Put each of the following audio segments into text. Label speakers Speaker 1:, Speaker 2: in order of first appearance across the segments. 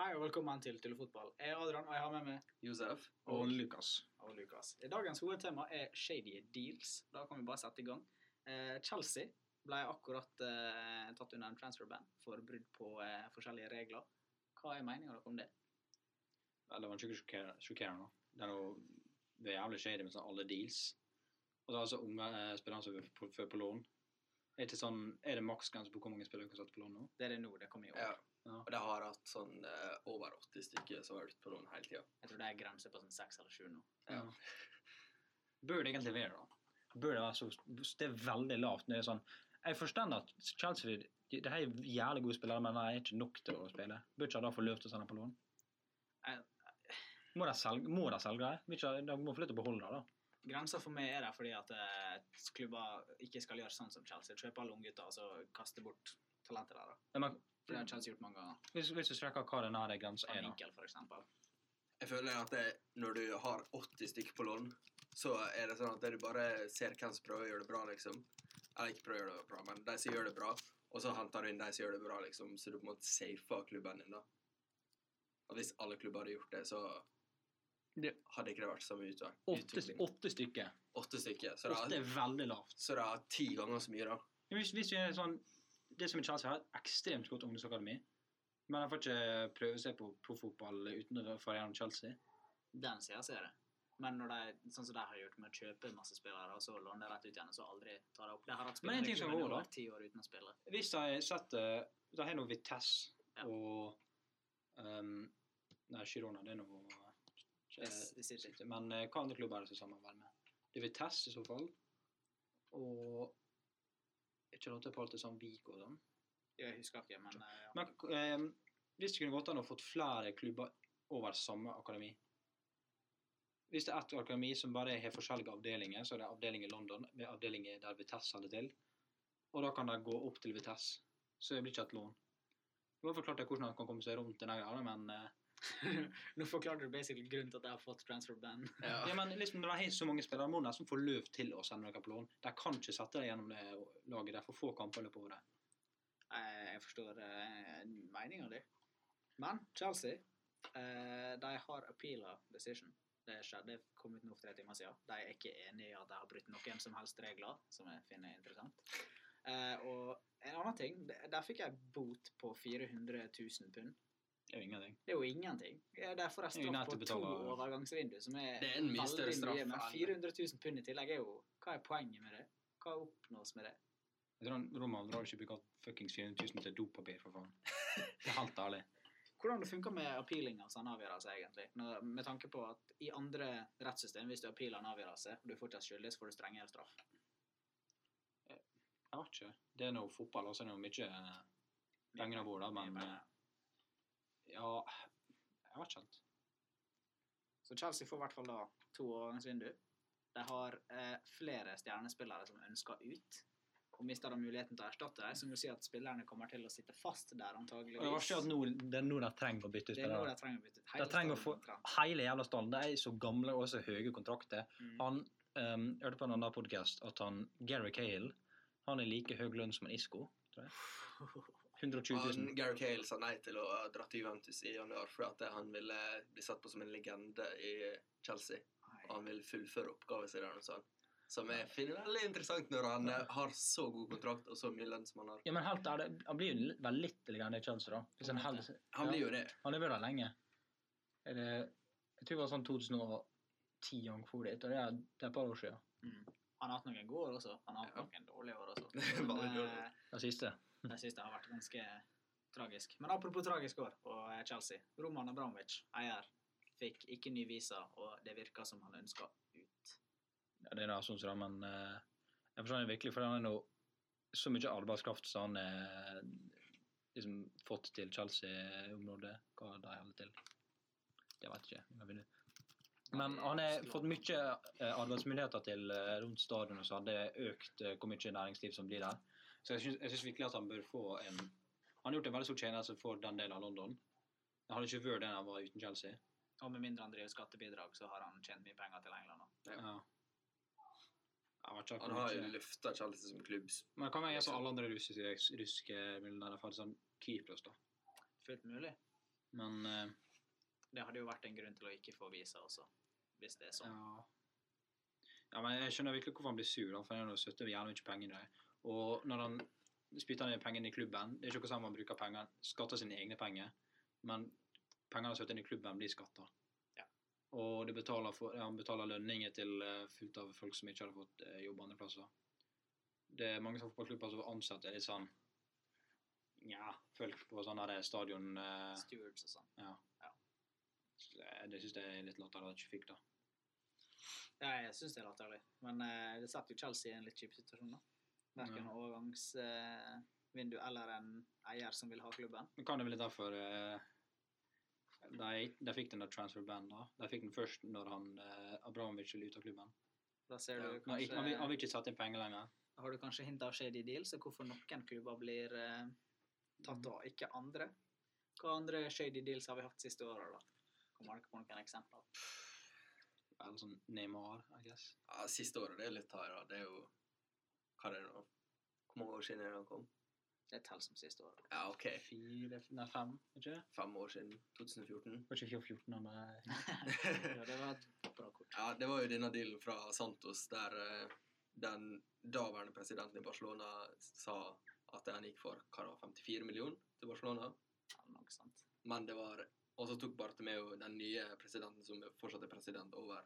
Speaker 1: Hei og velkommen til Tullefotball. Jeg er Adrian, og jeg har med meg
Speaker 2: Josef.
Speaker 3: Og Lukas.
Speaker 1: og Lukas. I Dagens hovedtema er shady deals. Da kan vi bare sette i gang. Eh, Chelsea ble akkurat eh, tatt under en transfer-band for brudd på eh, forskjellige regler. Hva er meninga dere om det?
Speaker 3: Ja, Det var skikkelig sjokker- sjokkerende. Det er noe det er jævlig shady med sånn alle deals. Og så er det altså unge eh, spillere som er på- før på lån. Er det, sånn, er det maksgrense på hvor mange spillere du kan sette på lån nå?
Speaker 1: Det er det nå det kommer i år.
Speaker 2: Ja.
Speaker 3: Ja.
Speaker 2: Og de har hatt sånn eh, over 80 stykker som har vært ute på lån hele tida.
Speaker 1: Jeg tror det er grense på sånn seks eller sju nå.
Speaker 2: Ja.
Speaker 3: Bør det egentlig være da? Bør det være så Det er veldig lavt når det er sånn Jeg forstår at Chelsea de, de har jævlig gode spillere, men de er ikke nok til å spille. Bør ikke de da få lov til å sende på lån?
Speaker 1: Jeg,
Speaker 3: Må de selge, må de selge det? Vil ikke de- De må få lov til å beholde det, da.
Speaker 1: Grensa for meg er der fordi at eh, klubber ikke skal gjøre sånn som Chelsea. Kjøpe alle unggutter og så kaste bort talentet deres.
Speaker 3: Ja, Men,
Speaker 1: For det har Chelsea gjort mange ganger.
Speaker 3: hvis, hvis du sjekker hva den her grensa er,
Speaker 1: Van
Speaker 3: da
Speaker 1: Winkel, for eksempel.
Speaker 2: Jeg føler at det, når du har 80 stykker på lån, så er det sånn at du bare ser hvem som prøver å gjøre det bra, liksom. Eller ikke prøver å gjøre det bra, men de som gjør det bra, og så henter du inn de som gjør det bra, liksom. Så du på en måte safer klubben din, da. Og hvis alle klubber hadde gjort det, så
Speaker 3: Det-
Speaker 2: hadde ikke det vært samme utvalg.
Speaker 3: Åtte, åtte stykker.
Speaker 2: Åtte stykker. Så
Speaker 3: Åtte
Speaker 2: det
Speaker 3: er veldig lavt.
Speaker 2: har ti ganger så mye, da.
Speaker 3: Men Hvis, hvis vi er sånn, det som er Chelsea har et ekstremt godt ungdomsakademi, men de får ikke prøve seg på proffotball uten å fare gjennom Chelsea.
Speaker 1: Den sida ser jeg. Men når de, sånn som de har gjort med å kjøpe masse spillere, og så låne rett ut igjen, og så aldri ta det opp. De har hatt
Speaker 3: Men
Speaker 1: spillere
Speaker 3: en
Speaker 1: i
Speaker 3: ting som
Speaker 1: klubben
Speaker 3: går, da.
Speaker 1: over ti år uten å spille.
Speaker 3: Hvis de setter De har nå Vitesse
Speaker 1: Ja.
Speaker 3: og ehm, Nei, Girona, det er nå eh,
Speaker 1: Yes, det sitter.
Speaker 3: City. Men eh, hva andre klubber er det som samarbeider med? Det er Vitesse i så fall. Og er ikke det på alt det sånn Vik og sånn?
Speaker 1: Jeg husker ikke, men eh, ja.
Speaker 3: Men eh, hvis det kunne gått an å fått flere klubber over samme akademi Hvis det er ett akademi som bare har forskjellige avdelinger, så er det avdeling i London, med avdeling der Vitesse holder til, og da kan de gå opp til Vitesse. Så det blir ikke et lån. Jeg har forklart deg hvordan han kan komme seg rundt den greia, men, eh,
Speaker 1: Nå forklarer du basically grunnen til at jeg har fått transfer ban.
Speaker 2: Ja.
Speaker 3: ja, men liksom, når de har så mange spillere, må de nesten få løp til å sende noen på lån. De kan ikke sette det gjennom det laget. De får få kamper i løpet av året.
Speaker 1: Jeg Eh, jeg forstår uh, meninga di. Men Chelsea eh, de har appeala decision. Det skjedde, kom ut nå for tre timer siden. De er ikke enig i at de har brutt noen som helst regler, som jeg finner interessant. Eh, og en annen ting, de- der fikk jeg bot på 400 000 pund.
Speaker 3: Det er jo ingenting.
Speaker 1: Det er jo ingenting. Eh, Det er for en
Speaker 3: Det er jo
Speaker 1: straff
Speaker 3: greit å
Speaker 1: på to
Speaker 3: betale-
Speaker 1: overgangsvindu, som er,
Speaker 2: Det er en mye
Speaker 1: veldig
Speaker 2: større straff
Speaker 1: mye, Men
Speaker 2: enn-
Speaker 1: 400 000 pund i tillegg er jo Hva er poenget med det? Hva oppnås med det?
Speaker 3: Jeg tror han, Roman drar ikke bruke fuckings 400 000 til dopapir, for faen. Det er helt ærlig.
Speaker 1: Hvordan det funker med appealing av sånne avgjørelser, egentlig? Når, med tanke på at i andre rettssystem, hvis du appealer en avgjørelse og du er fortsatt skyldig, så får du strengere straff.
Speaker 3: Jeg vet ikke. Det er noe fotball, altså. Det er noe mye eh, penger av bordet, men eh, ja Jeg vet ikke helt.
Speaker 1: Så Chelsea får i hvert fall da to overgangsvindu. De har eh, flere stjernespillere som ønsker ut. Og mister da muligheten til å erstatte dem, som vil si at spillerne kommer til å sitte fast der antageligvis.
Speaker 3: Og jeg vet ikke at nå, det er nå de trenger å bytte ut
Speaker 1: Det er nå de
Speaker 3: spillere.
Speaker 1: trenger å bytte ut.
Speaker 3: De
Speaker 1: Hele
Speaker 3: trenger å få
Speaker 1: stallen omtrent.
Speaker 3: hele jævla stallen. De er så gamle og så høye kontrakter.
Speaker 1: Mm.
Speaker 3: Han um, hørte på en annen podkast at han Gary Cahill han er like høy lønn som en Isco. Tror jeg. 120 000.
Speaker 2: Han, Gary Cale sa nei til å dra til Juventus i januar fordi at han ville bli satt på som en legende i Chelsea.
Speaker 1: Nei.
Speaker 2: Og han ville fullføre oppgaven sin der. og sånn. Som jeg finner veldig interessant når han eh, har så god kontrakt og så mye lønn som han har.
Speaker 3: Ja, men helt ærlig, han blir jo vel litt legende i Chelsea, da. Hvis han, held,
Speaker 2: Han blir jo det.
Speaker 3: Han har vært der lenge. Er det, jeg tror det var sånn 2010 han for dit, og det er, det er et par år siden.
Speaker 1: Mm. Han har hatt noen gode år også. Han har hatt
Speaker 2: Ja.
Speaker 1: noen dårlige år også.
Speaker 2: Veldig
Speaker 1: Men, eh,
Speaker 2: dårlig.
Speaker 3: Det siste.
Speaker 1: Jeg synes det har vært ganske tragisk. Men apropos tragisk år og eh, Chelsea. Roman Abramovic, eier, fikk ikke ny visa, og det virka som han ønska ut.
Speaker 3: Ja, det er da sånn som det, men eh, jeg forstår det virkelig, for han er nå så mye arbeidskraft som han har liksom fått til Chelsea-området, hva de holder til. Det vet jeg ikke. jeg vet ikke. Men han har fått mye eh, arbeidsmuligheter til eh, rundt stadion, og så har det økt eh, hvor mye næringsliv som blir der. Så jeg syns, jeg syns virkelig at han bør få en Han har gjort en veldig stor tjeneste for den delen av London. Han hadde ikke vært det han var uten Chelsea.
Speaker 1: Og med mindre han driver skattebidrag, så har han tjent mye penger til England nå.
Speaker 2: Ja.
Speaker 3: Ja. Jeg vet ikke
Speaker 2: Han
Speaker 3: hvor
Speaker 2: har jo
Speaker 3: mye-
Speaker 2: lufta Chelsea som klubb.
Speaker 3: Men det kan være som alle andre russiske, russiske millionærer får sånn Kypros, da.
Speaker 1: Fullt mulig.
Speaker 3: Men eh,
Speaker 1: Det hadde jo vært en grunn til å ikke få visa også, hvis det er sånn.
Speaker 3: Ja. ja, men jeg skjønner virkelig hvorfor han blir sur, da, for han støtter jævlig mye penger i det. Og når han spytter ned pengene i klubben, det er ikke noe sånn man bruker penger, skatter sine egne penger, men pengene han støtter inn i klubben blir skatter.
Speaker 1: Ja.
Speaker 3: Og det betaler for, han betaler lønninger til eh, fullt av folk som ikke hadde fått eh, jobb andre plasser. Det er mange som har fotballklubber som ansetter litt sånn, ja, folk på sånn her stadion... eh,
Speaker 1: Stewards og sånn.
Speaker 3: ja.
Speaker 1: Ja.
Speaker 3: Så eh, Det, det synes jeg er litt latterlig at jeg ikke fikk da.
Speaker 1: Ja, jeg syns det er latterlig, men eh, det setter jo Chelsea i en litt kjip situasjon, da. Verken
Speaker 3: Ja.
Speaker 1: overgangsvindu eller en eier som vil ha klubben.
Speaker 3: Men kan det vel litt derfor eh, de, de fikk den der transferband da. De fikk den først når han eh, Abramovic skulle ut av klubben.
Speaker 1: Da ser
Speaker 2: Ja,
Speaker 1: du
Speaker 2: men
Speaker 3: Men ikke, han, vil, han
Speaker 1: kanskje
Speaker 3: vil ikke sette inn penger lenger.
Speaker 1: Har du kanskje hint av shady deal, så hvorfor noen klubber blir eh, tatt og ikke andre? Hva andre shady deals har vi hatt siste året, da? Kommer dere på noen eksempler?
Speaker 3: Eller sånn Neymar, I guess.
Speaker 2: Ja, siste året det er litt hard, da. Det er jo Hva er det nå? Hvor mange år siden er det han kom?
Speaker 1: Det teller som siste året.
Speaker 2: Ja, OK.
Speaker 3: Fire, nei fem, ikke det?
Speaker 2: Fem år siden. 2014.
Speaker 3: Var ikke 14 han ble
Speaker 1: Ja, det var et bra kort.
Speaker 2: ja, det var jo denne dealen fra Santos der eh, den daværende presidenten i Barcelona sa at han gikk for hva det var, 54 millioner til Barcelona.
Speaker 1: Ja, noe sant.
Speaker 2: Men det var Og så tok Bartomeu, den nye presidenten som fortsatt er president, over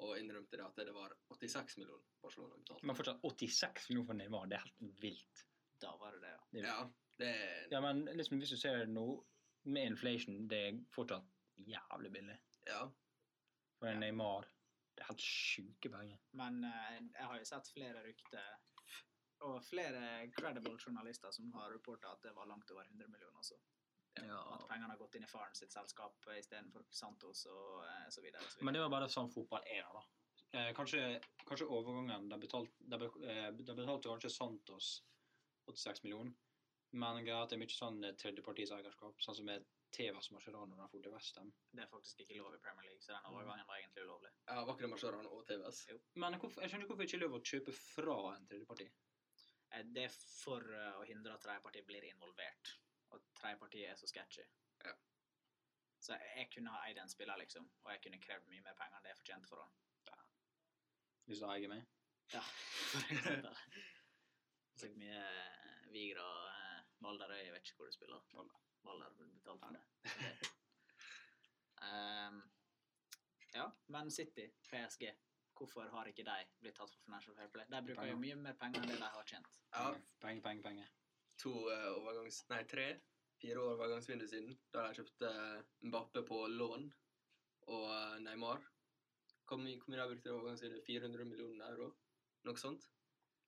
Speaker 2: og innrømte det at det var 86 millioner Barcelona betalte.
Speaker 3: Men fortsatt 86 millioner for Neymar, det er helt vilt.
Speaker 1: Da var det det, ja.
Speaker 2: Ja, det
Speaker 3: Ja, men liksom, hvis du ser det nå, med inflation, det er fortsatt jævlig billig.
Speaker 2: Ja.
Speaker 3: For en
Speaker 1: Ja.
Speaker 3: Neymar, det er helt syke penger.
Speaker 1: Men eh, jeg har jo sett flere rykter og flere credible journalister som har rapporta at det var langt over 100 millioner også. At
Speaker 3: Ja.
Speaker 1: pengene har gått inn i faren sitt selskap eh, istedenfor Santos og eh, så videre. Og så videre.
Speaker 3: Men det var bare sånn fotball er, da. Eh, kanskje, kanskje overgangen De betalte, de, be- eh, de betalte kanskje Santos 86 millioner, men greia er at det er mye sånn eh, tredjepartis eierskap, sånn som med Tevas Mascherano da han dro til Westham.
Speaker 1: Det er faktisk ikke lov i Premier League, så den
Speaker 3: Mm.
Speaker 1: overgangen var egentlig ulovlig.
Speaker 2: ja var ikke det Marciaran og TVS?
Speaker 3: Men hvorfor, jeg skjønner ikke hvorfor det ikke er lov å kjøpe fra en tredjeparti.
Speaker 1: Eh, Det er for eh, å hindre at tredjepartiet blir involvert. Og tredjepartiet er så sketchy.
Speaker 2: Ja.
Speaker 1: Så jeg, jeg kunne ha eid en spiller, liksom. Og jeg kunne krevd mye mer penger enn det jeg fortjente for han.
Speaker 3: Hvis du eier meg.
Speaker 1: Ja, for eksempel. Så mye eh, Vigra og eh, Valderøy, jeg vet ikke hvor du spiller.
Speaker 3: Valder.
Speaker 1: Valder burde betalt for det. Ehm, ja, men City, PSG, hvorfor har ikke de blitt tatt for Financial Fair Play? De bruker jo mye mer penger enn det de har tjent.
Speaker 2: Ja,
Speaker 3: Penger, penger, penger.
Speaker 2: to eh, overgangs... Nei, tre. Fire overgangsvindu siden, da de kjøpte eh, Mbappe på lån og eh, Neymar. Hvor mye hvor mye de brukte i overgangsvinduet? 400 millioner euro? Noe sånt?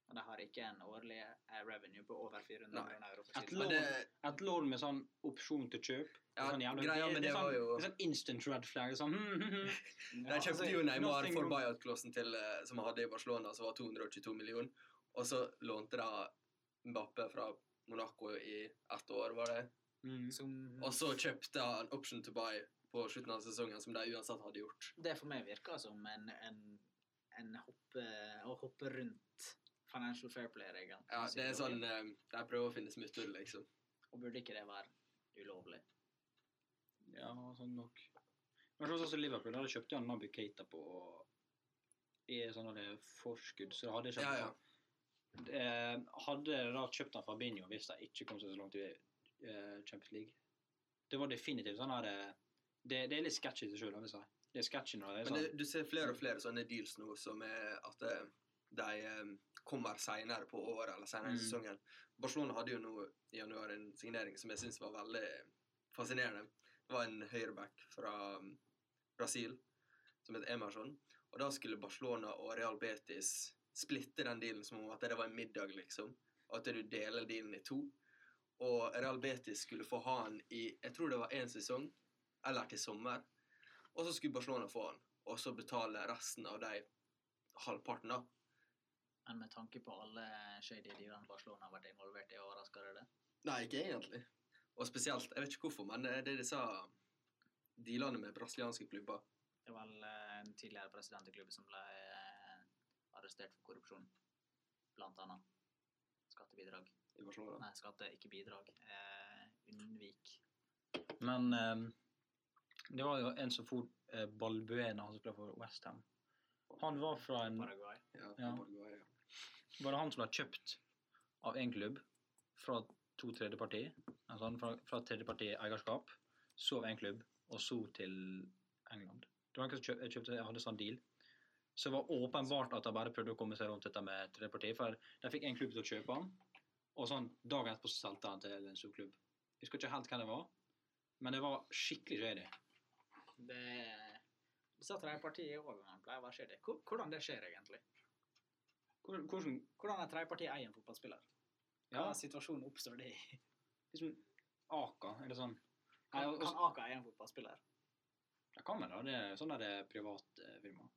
Speaker 1: Og de har ikke en årlig eh, revenue på over 400
Speaker 2: Nei.
Speaker 1: millioner euro.
Speaker 3: Et
Speaker 1: For siden.
Speaker 2: Men
Speaker 3: lån.
Speaker 2: det,
Speaker 3: Et lån med sånn opsjon til kjøp.
Speaker 2: Ja,
Speaker 3: sånn jævlig-
Speaker 2: greia med
Speaker 3: det,
Speaker 2: det
Speaker 3: er
Speaker 2: var
Speaker 3: sånn,
Speaker 2: jo-
Speaker 3: det er sånn instant red flag. det er Sånn, hmm, hmm, hmm.
Speaker 2: de
Speaker 1: altså,
Speaker 2: kjøpte jo Neymar
Speaker 3: nothing
Speaker 2: for
Speaker 3: wrong.
Speaker 2: buyout-klossen til, eh, som han hadde i Barcelona, som var 222 millioner. Og så lånte de Mbappe fra Monaco i ett år, var det.
Speaker 3: Mm.
Speaker 1: Som-
Speaker 2: Og så kjøpte han option to buy på slutten av sesongen, som de uansett hadde gjort.
Speaker 1: Det for meg virker som en, en, en hoppe, å hoppe rundt Financial Fair Play-regelen.
Speaker 2: Ja, det er sånn eh, De prøver å finne smutthull, liksom.
Speaker 1: Og burde ikke det være ulovlig?
Speaker 3: Ja, sånn nok. Men sånn som Liverpool, der kjøpte han Naby Keita på i sånn av det forskudd, så hadde jeg
Speaker 2: Ja,
Speaker 3: kjøpt
Speaker 2: ja.
Speaker 3: Eh, hadde de da kjøpt han Fabinho hvis de ikke kom seg så langt i eh, Champions League? Det var definitivt sånn her eh, det, det er litt sketchy til sjøl, vil jeg si. Det er sketchy når det er
Speaker 2: Men det,
Speaker 3: sånn.
Speaker 2: du ser flere og flere sånne deals nå som er at eh, de eh, kommer seinere på året eller seinere i
Speaker 3: Mm.
Speaker 2: sesongen. Barcelona hadde jo nå i januar en signering som jeg syns var veldig fascinerende. Det var en høyreback fra mm, Brasil som het Emerson. Og da skulle Barcelona og Real Betis splitte den dealen som om at det var en middag, liksom. Og at du deler dealen i to. Og Real Betis skulle få ha han i jeg tror det var én sesong, eller til sommer. Og så skulle Barcelona få han, og så betale resten av de halvparten, da.
Speaker 1: Men med tanke på alle shady dealene Barcelona har vært involvert i, overrasker det det?
Speaker 2: Nei, ikke egentlig. Og spesielt, jeg vet ikke hvorfor, men eh, det er disse dealene med brasilianske klubber.
Speaker 1: Det var vel eh, en tidligere president i klubben som ble eh, arrestert for korrupsjon, blant annet. Skattebidrag.
Speaker 2: i Barcelona.
Speaker 1: Nei, skatte, ikke bidrag. Eh, unnvik.
Speaker 3: Men eh, Det var jo en som for eh, Balbuena, han som spilte for Westham. Han var fra en
Speaker 1: Paraguay.
Speaker 2: Ja,
Speaker 3: Ja.
Speaker 2: Paraguay, ja.
Speaker 3: Var det han som ble kjøpt av en klubb fra to tredjeparti? Altså han fra, fra tredjeparti eierskap, så av en klubb, og så til England. Det var han som kjøp- kjøpte, jeg hadde sånn deal. Så det var åpenbart at de bare prøvde å komme seg rundt dette med tredjeparti, for de fikk en klubb til å kjøpe han, og sånn dagen etterpå så solgte han til en stor klubb. Jeg husker ikke helt hvem det var, men det var skikkelig shady.
Speaker 1: Det, det satt de partiet i overgangen pleier å være shady. Hvor- Hvordan det skjer egentlig?
Speaker 3: Hvordan, hvordan
Speaker 1: Hvordan er tredjepartiet eier en fotballspiller?
Speaker 3: ja,
Speaker 1: Hva situasjon oppstår det i?
Speaker 3: liksom Aka, eller sånn. Nei,
Speaker 1: Kan,
Speaker 3: og-
Speaker 1: kan Aka eie en fotballspiller?
Speaker 3: Det kan vel da, det er sånn der det er privat eh, firma.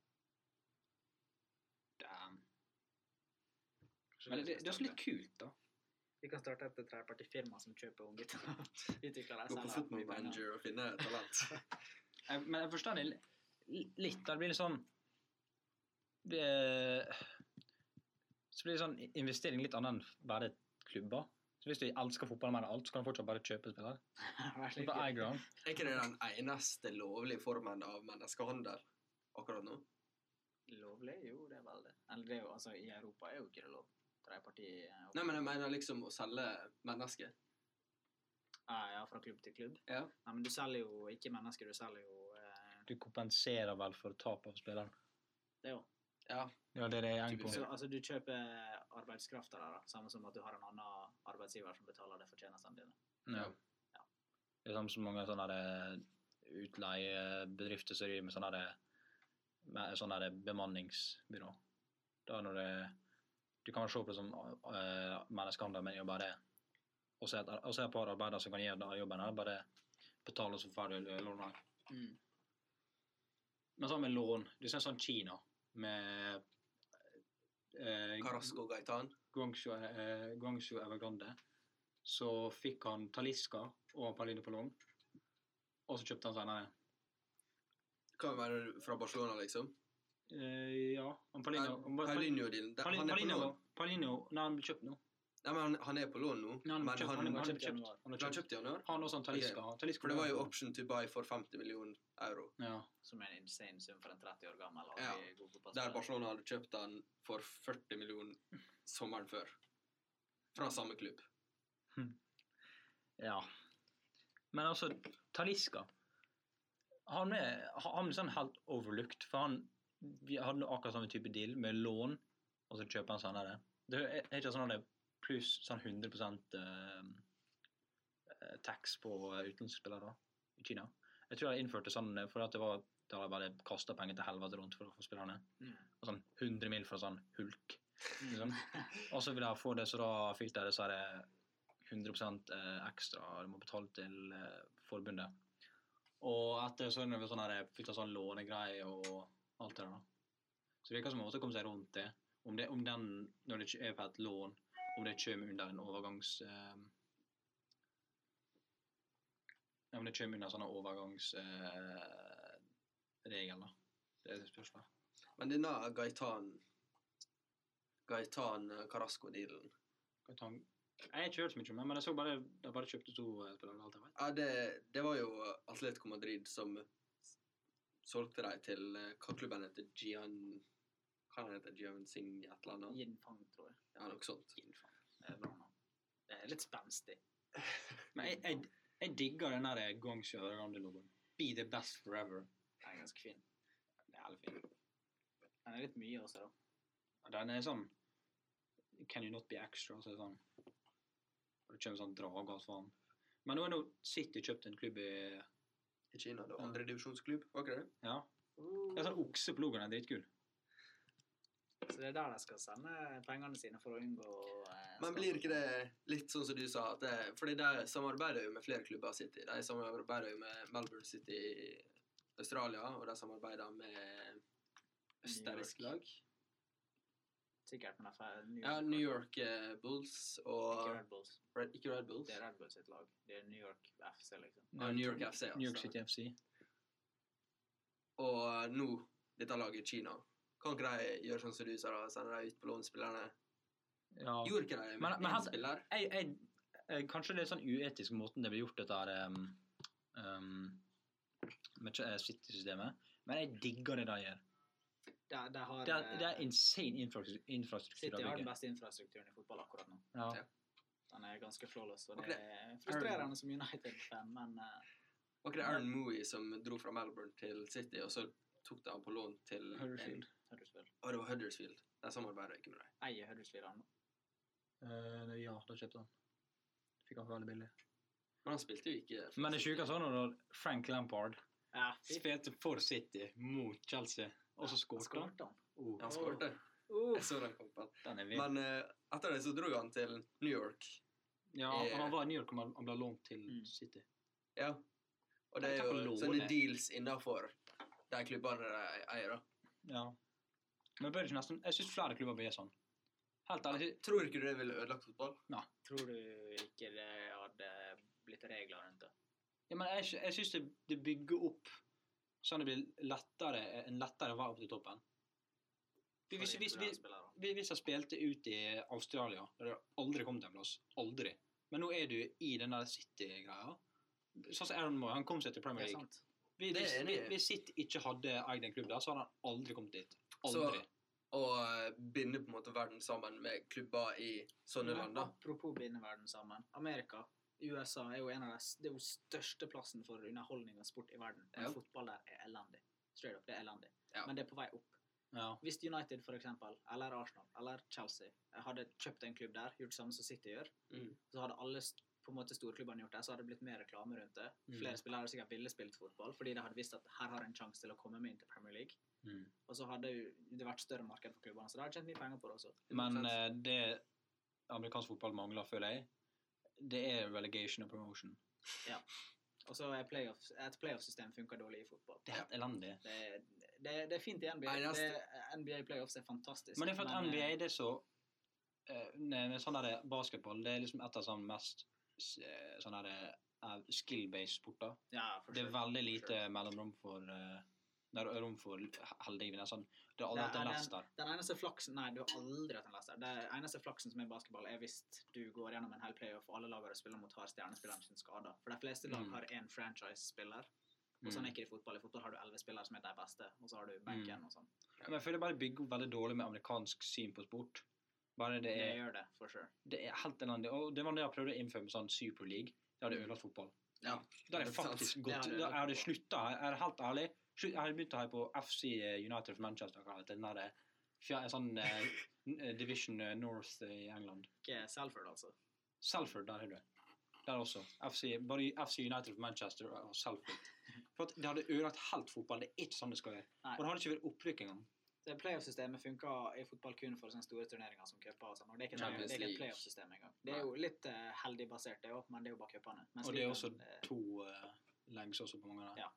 Speaker 3: Damn. Men det, det, det er også litt kult, da.
Speaker 1: Vi kan starte et tredjepartifirma som kjøper unggutter. Utvikler dem
Speaker 2: Gå på
Speaker 1: selv.
Speaker 2: Football Manager og finne talent.
Speaker 3: Jeg, men jeg forstår det li- litt. da. Det blir litt sånn det, Så blir det sånn investering litt annet enn bare klubber. Så Hvis du elsker fotball mer enn alt, så kan du fortsatt bare kjøpe spillere. Sånn
Speaker 1: Vær så
Speaker 3: På
Speaker 1: god.
Speaker 3: Eigram.
Speaker 2: Er ikke det den eneste lovlige formen av menneskehandel akkurat nå?
Speaker 1: Lovlig? Jo, det er vel det. Eller det er jo, altså, I Europa er jo ikke det lov. Tredjeparti eh,
Speaker 2: Nei, men jeg mener liksom å selge mennesker.
Speaker 1: ah, ja, fra klubb til klubb.
Speaker 2: Ja.
Speaker 1: Nei, men du selger jo ikke mennesker, du selger jo eh,
Speaker 3: Du kompenserer vel for tap av spilleren.
Speaker 1: Det er jo
Speaker 2: ja.
Speaker 3: Ja, det er det jeg
Speaker 1: Så,
Speaker 3: går på.
Speaker 1: altså, du kjøper arbeidskrafta der, da. Samme som at du har en annen arbeidsgiver som betaler deg for tjenestene dine.
Speaker 3: Ja. Det er samme som mange sånne der eh, utleiebedrifter som driver med sånne der, med sånne der bemanningsbyrå. Da når det, du kan se på det som eh, menneskehandel, men jo bare Og så er det- og så er det et par arbeidere som kan gjøre den jobben her, bare betale så ferdig lånet. Men sånn med lån Du ser sånn Kina med eh,
Speaker 2: Carasco Gaitan.
Speaker 3: Guangzhou, eh, Guangzhou Evergrande, så fikk han Taliska og Pauline Pollong, og så kjøpte han senere.
Speaker 2: Kan jo være fra Barcelona, liksom.
Speaker 3: Eh, ja, han Pauline han var-
Speaker 2: Paulinho-dealen.
Speaker 3: Pauline-
Speaker 2: Han er på
Speaker 3: Pauline-
Speaker 2: lån.
Speaker 3: Paulinho- Nei, han ble kjøpt nå.
Speaker 2: Nei, men han, han er på lån nå.
Speaker 3: Nei, han ble
Speaker 2: men han,
Speaker 3: kjøpt, han,
Speaker 2: han,
Speaker 3: han,
Speaker 1: ble
Speaker 3: ble
Speaker 1: kjøpt i
Speaker 3: kjøpt.
Speaker 1: januar.
Speaker 3: Han ble
Speaker 2: han
Speaker 3: kjøpt.
Speaker 2: kjøpt i januar.
Speaker 3: Han og sånn Taliska. Taliska
Speaker 2: For det var jo option to buy for 50 millioner euro.
Speaker 3: Ja.
Speaker 1: Som er en insane sum for en 30 år gammel.
Speaker 2: Ja.
Speaker 1: aldri god
Speaker 2: Der
Speaker 1: fotballspiller.
Speaker 2: Barcelona hadde kjøpt han for 40 millioner sommeren før. Fra samme klubb.
Speaker 3: ja. Men altså, Taliska Han er, han er sånn helt overlooked, for han vi hadde akkurat samme type deal med lån, og så kjøper han sånn der. Det er er ikke sånn at det er pluss sånn 100 eh, tax på utenlandske spillere i Kina. Jeg tror de innførte sånn eh, fordi at det var da de bare kasta penger til helvete rundt for å få spillerne.
Speaker 1: Mm.
Speaker 3: Og sånn 100 mil fra sånn hulk. Liksom. Og så ville jeg få det, så da fikk de disse her, eh, 100 eh, ekstra de må betale til eh, forbundet. Og etter så er det noe sånn her, fikk de sånn lånegreie og alt det der. da. Så det virker som en måte å komme seg rundt det. Om, det, om den, når det ikke er på et lån, om det kommer under en overgangs... Eh, ja, om det kommer under sånne overgangsregler, eh, regel, da. Det er spørsmålet.
Speaker 2: Men denne Gaitan Gaitan Carasco-dealen
Speaker 3: Skal jeg ta den? Jeg har ikke hørt så mye om det, men jeg så bare de bare kjøpte to eh, spillere. alt jeg vet.
Speaker 2: Ja, det, det var jo Atletico Madrid som solgte dem til eh, hva klubben heter Gian Hva han heter Gian Singh et eller annet?
Speaker 1: Yinfang, tror jeg.
Speaker 2: Ja, noe sånt.
Speaker 1: Yinfang. Det er bra navn. Det er litt spenstig.
Speaker 3: Men jeg, jeg, jeg digger den der Guangzhou Rande-logoen. Be the best forever.
Speaker 1: Den er ganske fin. Den er veldig fin. Den er litt mye også, da.
Speaker 3: Og Den er sånn Can you not be extra? Så er det sånn. Og det kommer sånn drage og sånn. Men nå er nå City kjøpt en klubb i
Speaker 2: I Kina. Det var andredivisjonsklubb, var ikke det?
Speaker 3: Ja. Det er sånn okse på logoen. Den er dritkul.
Speaker 1: Så det er der de skal sende pengene sine for å unngå eh,
Speaker 2: Men blir ikke det litt sånn som du sa? At det, fordi de samarbeider jo med flere klubber i City. De samarbeider jo med Melbourne City i Australia, og de samarbeider med østerriksk
Speaker 1: New York.
Speaker 2: lag.
Speaker 1: Sikkert, men det er New
Speaker 2: Ja, New York eh, Bulls
Speaker 1: Ikke
Speaker 2: og
Speaker 1: Red Bulls.
Speaker 2: Red, Ikke Red Bulls.
Speaker 1: Det er Red Bulls sitt lag. Det er New York FC, liksom.
Speaker 2: Ja, New York FC,
Speaker 3: New York
Speaker 2: altså.
Speaker 3: City FC.
Speaker 2: Og nå, dette laget i Kina Kan ikke de gjøre sånn som du sa, da? Sende dem ut på lånspillerne?
Speaker 3: Ja.
Speaker 2: Gjorde ikke de det
Speaker 3: Men-
Speaker 2: med
Speaker 3: men
Speaker 2: én
Speaker 3: han-
Speaker 1: altså-
Speaker 2: spiller?
Speaker 3: jeg, jeg, eh, kanskje det er sånn uetisk måten det blir gjort dette her um, um, med Ch- eh, City-systemet, men jeg digger det de gjør.
Speaker 1: De, de har
Speaker 3: Det er, det er
Speaker 1: eh,
Speaker 3: insane infrastru- infrastruktur
Speaker 1: City
Speaker 3: de
Speaker 1: har den
Speaker 3: bygger.
Speaker 1: beste infrastrukturen i fotball akkurat nå.
Speaker 3: Ja.
Speaker 2: Ja.
Speaker 1: Den er ganske flawless, og
Speaker 2: Ok.
Speaker 1: det er frustrerende som United-fan, men eh,
Speaker 2: Var ikke det Aaron Moey som dro fra Melbourne til City, og så tok de han på lån til en-
Speaker 3: Huddersfield.
Speaker 1: Huddersfield
Speaker 2: Å, det var Huddersfield. De samarbeider ikke med dem.
Speaker 1: eier Huddersfield han nå.
Speaker 3: Eh, ja, da kjøpte han. Fikk han for veldig billig.
Speaker 2: Men han spilte jo ikke for
Speaker 3: Men det
Speaker 2: City.
Speaker 3: sjuke sånn når Frank Lampard
Speaker 1: Ja, fy faen,
Speaker 3: spilte for City mot Chelsea, og så
Speaker 1: han
Speaker 3: skåret han.
Speaker 1: skårte han.
Speaker 3: Oh,
Speaker 2: Han skårte.
Speaker 1: Uh,
Speaker 2: Jeg så den kampen.
Speaker 3: den er vill.
Speaker 2: Men eh, etter det så dro han til New York.
Speaker 3: Ja,
Speaker 2: Eh,
Speaker 3: for han var i New York og han ble lånt til
Speaker 1: Mm.
Speaker 3: City.
Speaker 2: Ja. Og det er
Speaker 3: Han tar på
Speaker 2: jo
Speaker 3: lån,
Speaker 2: sånne
Speaker 3: jeg.
Speaker 2: deals innafor de klubbene de eier, da.
Speaker 3: Ja. Men bør det ikke nesten Jeg syns flere klubber bør gjøre sånn. Helt ærlig. jeg synes-
Speaker 2: Tror ikke du det ville ødelagt fotball?
Speaker 1: tror du ikke det hadde blitt regler rundt det?
Speaker 3: Ja, men jeg, sy- jeg syns det, det bygger opp sånn det blir lettere, en lettere vei opp til toppen. Vi- Hvis,
Speaker 1: For
Speaker 3: hvis,
Speaker 1: individuelle
Speaker 3: hvis,
Speaker 1: spillere.
Speaker 3: vi- hvis jeg spilte ut i Australia, der jeg aldri kom til en plass Aldri. Men nå er du i den der City-greia. Sånn som Aaron Moe, han kom seg til
Speaker 1: Det
Speaker 3: Premier
Speaker 1: er
Speaker 3: League.
Speaker 1: sant.
Speaker 3: Vi-
Speaker 2: Det er
Speaker 3: Hvis,
Speaker 2: jeg enig
Speaker 3: vi-
Speaker 2: i.
Speaker 3: hvis City ikke hadde eid en klubb der, så hadde han aldri kommet dit.
Speaker 2: Så-
Speaker 3: Aldri.
Speaker 2: Og eh, binde på en måte verden sammen med klubber i
Speaker 3: Sånn
Speaker 2: sånne
Speaker 1: Men
Speaker 2: land, da?
Speaker 1: Apropos binde verden sammen. Amerika, USA er jo en av de s- det er jo største plassen for underholdning og sport i verden. Men
Speaker 2: Ja.
Speaker 1: fotball der er elendig. Straight up, det er elendig.
Speaker 2: Ja.
Speaker 1: Men det er på vei opp.
Speaker 3: Ja.
Speaker 1: Hvis United for eksempel, eller Arsenal eller Chelsea eh, hadde kjøpt en klubb der, gjort det samme som City gjør,
Speaker 2: Mm.
Speaker 1: så hadde alle st- på en måte storklubbene gjort det, så hadde det blitt mer reklame rundt det.
Speaker 3: Mm.
Speaker 1: Flere spillere hadde sikkert ville spilt fotball, fordi de hadde visst at her har en sjanse til å komme med inn til Premier League. Og så hadde jo det vært større marked for klubbene, så de hadde tjent mye penger på det også.
Speaker 3: Men eh, det amerikansk fotball mangler, føler jeg, det er relegation og promotion.
Speaker 1: Og så er playoff, et playoff-system funker dårlig i fotball.
Speaker 3: Det er helt elendig.
Speaker 1: Det, det, det er fint i NBA.
Speaker 2: Nei, det
Speaker 1: det,
Speaker 2: er-
Speaker 1: NBA playoffs er fantastisk.
Speaker 3: Men det er for at
Speaker 1: men,
Speaker 3: NBA
Speaker 1: eh,
Speaker 3: det er så eh, nei, men sånn der basketball det er liksom et av sånn mest s- eh, sånn der, eh, skill-based sporter.
Speaker 1: ja, for
Speaker 3: Det er
Speaker 1: sure.
Speaker 3: veldig
Speaker 1: for
Speaker 3: lite mellomrom for eh, Det er rom for heldiggivende. Sånn. Det har aldri
Speaker 1: Det
Speaker 3: vært en
Speaker 1: er
Speaker 3: lest der.
Speaker 1: Den eneste flaksen Nei, du har aldri hatt en lester. Det eneste flaksen som er i basketball, er hvis du går gjennom en hel playoff og alle lagene du spiller mot, har stjernespilleren sin skada. For de fleste lag
Speaker 3: Mm.
Speaker 1: har én franchise-spiller, og sånn er
Speaker 3: Mm.
Speaker 1: ikke det i fotball. I fotball har du elleve spillere som er de beste, og så har du benken og sånn.
Speaker 3: Men jeg føler bare det bygger opp veldig dårlig med amerikansk syn på sport. Bare det
Speaker 1: Det
Speaker 3: er
Speaker 1: gjør det, for sure.
Speaker 3: Det er helt elendig. Og det var det jeg prøvde å innføre med sånn Super League. Det hadde ødelagt fotball.
Speaker 2: Ja.
Speaker 3: Da er
Speaker 2: Det
Speaker 3: det
Speaker 2: er sant.
Speaker 3: faktisk
Speaker 1: Det
Speaker 3: gått
Speaker 1: hadde
Speaker 3: Da
Speaker 1: ødelagt
Speaker 3: er det
Speaker 1: fotball.
Speaker 3: slutta her. Er det helt ærlig? Slutt, jeg hadde begynt å heie på FC United for Manchester. hva heter Den der, fjer- sånn eh, n- eh, Division eh, North eh, i England.
Speaker 1: Ikke Salford, altså.
Speaker 3: Salford, der er det. Der også. FC, bare FC United for Manchester og Salford. For at det hadde ødelagt helt fotball. Det er ikke sånn det skal være.
Speaker 1: Nei.
Speaker 3: Og det hadde ikke vært opprykk engang.
Speaker 1: Det Playoff-systemet funker i fotball kun for sånne store turneringer som cuper og sånn. og Det er ikke, det
Speaker 2: Champions
Speaker 1: er ikke
Speaker 2: League.
Speaker 1: et playoff-system engang. Det er jo litt eh, heldig basert, det òg, men det er jo bare cupene. Mens
Speaker 3: Og det er
Speaker 1: ligaen,
Speaker 3: også
Speaker 1: eh,
Speaker 3: to eh, legs også på mange av dem.
Speaker 1: Ja.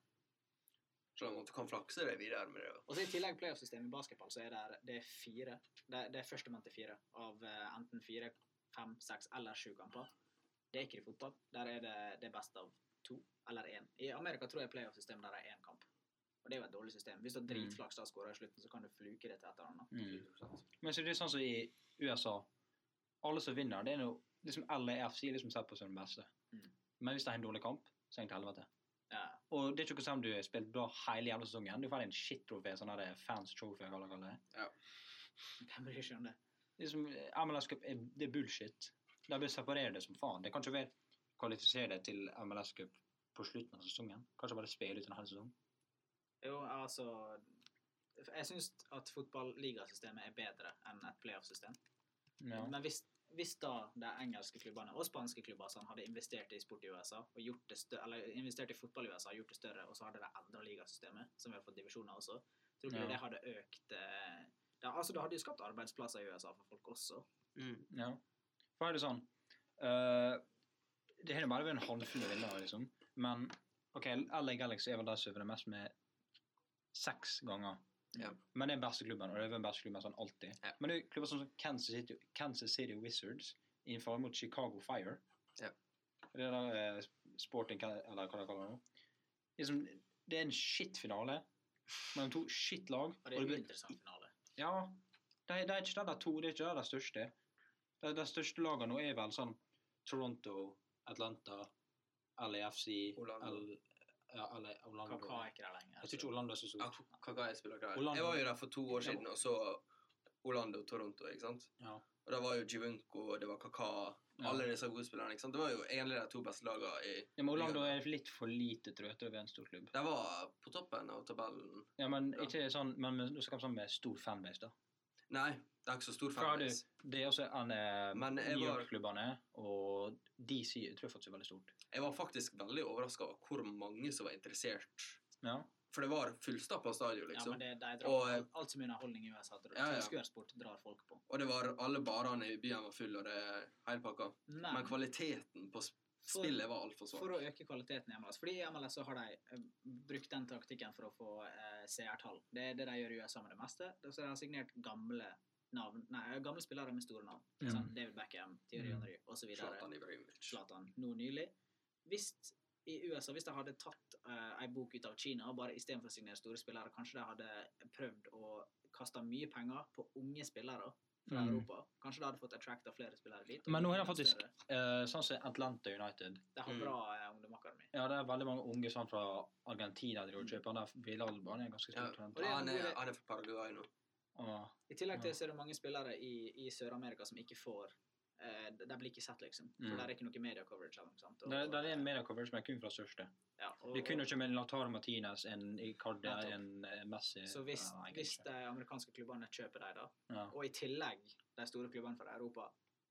Speaker 2: Selv om du kan flakse deg videre med det.
Speaker 1: Og så I tillegg playoff-systemet i basketball så er det, det er fire. Det, det er førstemann til fire av eh, enten fire, fem, seks eller sju kamper. Det er ikke i fotball. Der er det, det er best av to eller én. I Amerika tror jeg playoff-systemet der er én kamp. Og det er jo et dårlig system. Hvis du har dritflaks da skårer i slutten, så kan du fluke det til et eller annet.
Speaker 3: Mm. Men så det er sånn som i USA Alle som vinner, det er noe liksom LAFC er liksom sett på som den beste.
Speaker 1: Mm.
Speaker 3: Men hvis de har en dårlig kamp, så er det til helvete.
Speaker 1: Ja.
Speaker 3: Og det er ikke noe som du har spilt bra hele jævla sesongen. Du får en shit-trofé, sånn der fans trophy, hva det kaller det.
Speaker 1: Hvem bryr seg om det?
Speaker 3: Liksom, MLS Cup er, det er bullshit. De bør separere det som faen. Det kan ikke være kvalifisere deg til MLS Cup på slutten av sesongen. Kanskje bare spille ut en hel sesong.
Speaker 1: Jo, altså Jeg syns at fotballigasystemet er bedre enn et playoff-system.
Speaker 3: Ja.
Speaker 1: Men hvis, hvis da de engelske klubbene og spanske klubber sånn, hadde investert i sport i USA, og gjort det større, eller investert i fotball i USA og gjort det større, og så hadde de endra ligasystemet, som vi har fått divisjoner også, tror du
Speaker 3: Ja.
Speaker 1: det hadde økt eh, det, altså, det hadde jo skapt arbeidsplasser i USA for folk også.
Speaker 3: Ja. For er det sånn eh, Det har jo bare vært en håndfull av vinnere, liksom. Men OK, LA Galaxy er vel de som vinner mest med seks ganger.
Speaker 2: Ja.
Speaker 3: Men det er den beste klubben, og det er vel den beste klubben sånn alltid.
Speaker 2: Ja.
Speaker 3: Men det er jo klubber som Kansas City, Kansas City Wizards innenfor mot Chicago Fire.
Speaker 2: Ja.
Speaker 3: Det er da eh, Sporting Ka- Eller hva de kaller det nå. Liksom, det er en skittfinale mellom to skittlag.
Speaker 1: Og det er
Speaker 3: blir-
Speaker 1: jo en interessant finale.
Speaker 3: ja, det er, det er ikke der de to, det er ikke der de største. De, de største lagene nå er vel sånn Toronto, Atlanta, LAFC,
Speaker 2: Orlando.
Speaker 3: L, ja, eller Orlando.
Speaker 1: Kaka er ikke der lenger.
Speaker 3: Jeg tror ikke Orlando er så
Speaker 2: Ja,
Speaker 3: stort.
Speaker 2: Kaka er spiller der.
Speaker 3: Orlando.
Speaker 2: Jeg var jo der for to år siden og så Orlando Toronto, ikke sant?
Speaker 3: Ja.
Speaker 2: Og da var jo Givunco, og det var Kaka,
Speaker 3: Ja.
Speaker 2: alle disse gode spillerne, ikke sant? Det var jo egentlig de to beste lagene i
Speaker 3: Ja, men Orlando er litt for lite trøte over en stor klubb.
Speaker 2: De var på toppen av tabellen.
Speaker 3: Ja, men
Speaker 2: Ja.
Speaker 3: ikke sånn, men med, nå skal vi sammen med stor fanbase, da.
Speaker 2: Nei, det er ikke så stor
Speaker 3: Fra du,
Speaker 2: fanbase.
Speaker 3: det er også en eh,
Speaker 2: Men jeg
Speaker 3: New
Speaker 2: var-
Speaker 3: York-klubbene, og DC jeg tror jeg faktisk er veldig stort.
Speaker 2: Jeg var faktisk veldig overraska over hvor mange som var interessert.
Speaker 3: Ja.
Speaker 2: For det var fullstappa stadion,
Speaker 1: Ja, men
Speaker 2: liksom.
Speaker 1: det, de drar,
Speaker 2: Og, eh,
Speaker 1: alt, alt som er underholdning i USA, drar,
Speaker 2: Ja, ja.
Speaker 1: tilskuersport drar folk på.
Speaker 2: Og det var alle barene i byen var fulle, og det hele pakka.
Speaker 1: Men,
Speaker 2: Men kvaliteten på sp-
Speaker 1: For-
Speaker 2: spillet var altfor
Speaker 1: for
Speaker 3: sånn.
Speaker 2: svak.
Speaker 1: å øke kvaliteten i MLS Fordi i MLS så har de eh, brukt den taktikken for å få eh, seertall. Det er det de gjør i USA med det meste. Det- Så de har signert gamle navn Nei, eh, gamle spillere med store navn.
Speaker 3: Mm.
Speaker 1: Sånn David Beckham, Thierry
Speaker 3: Mm.
Speaker 1: Henry osv.
Speaker 2: Zlatan Ibrahimovic.
Speaker 1: Zlatan nå nylig. Hvis i USA, hvis de hadde tatt eh, en bok ut av Kina, bare istedenfor å signere store spillere, kanskje de hadde prøvd å kaste mye penger på unge spillere fra
Speaker 3: Mm.
Speaker 1: Europa. Kanskje de hadde fått attracta flere spillere dit. og
Speaker 3: Men nå har
Speaker 1: gjort
Speaker 3: de
Speaker 1: dem
Speaker 3: faktisk-
Speaker 1: større.
Speaker 3: Eh, sånn som Atlanta United.
Speaker 1: De har
Speaker 2: Mm.
Speaker 1: bra eh, ungdomakademi.
Speaker 3: Ja, det er veldig mange unge sånn fra Argentina de driver og kjøper. Han der Villalban er ganske
Speaker 2: Ja.
Speaker 3: stort
Speaker 1: Mm. Og det
Speaker 3: talent.
Speaker 1: er
Speaker 2: Han er,
Speaker 1: noe-
Speaker 2: han er fra Paraguay nå.
Speaker 3: Ja.
Speaker 1: I tillegg til
Speaker 3: Ja.
Speaker 1: så er det mange spillere i, i Sør-Amerika som ikke får eh, De de blir ikke sett, liksom. For
Speaker 3: Mm.
Speaker 1: der er ikke noe media coverage eller noe sånt. og-
Speaker 3: Det, det er en mediacoverage, men kun fra største.
Speaker 1: ja, og-
Speaker 3: Vi kunne ikke med en Lautaro Martinez, en Icardia,
Speaker 1: Nettopp.
Speaker 3: en eh, Messi
Speaker 1: Så hvis,
Speaker 3: Ja, jeg kan
Speaker 1: hvis
Speaker 3: ikke.
Speaker 1: de amerikanske klubbene kjøper dem, da,
Speaker 3: ja.
Speaker 1: Og i tillegg, de store klubbene fra Europa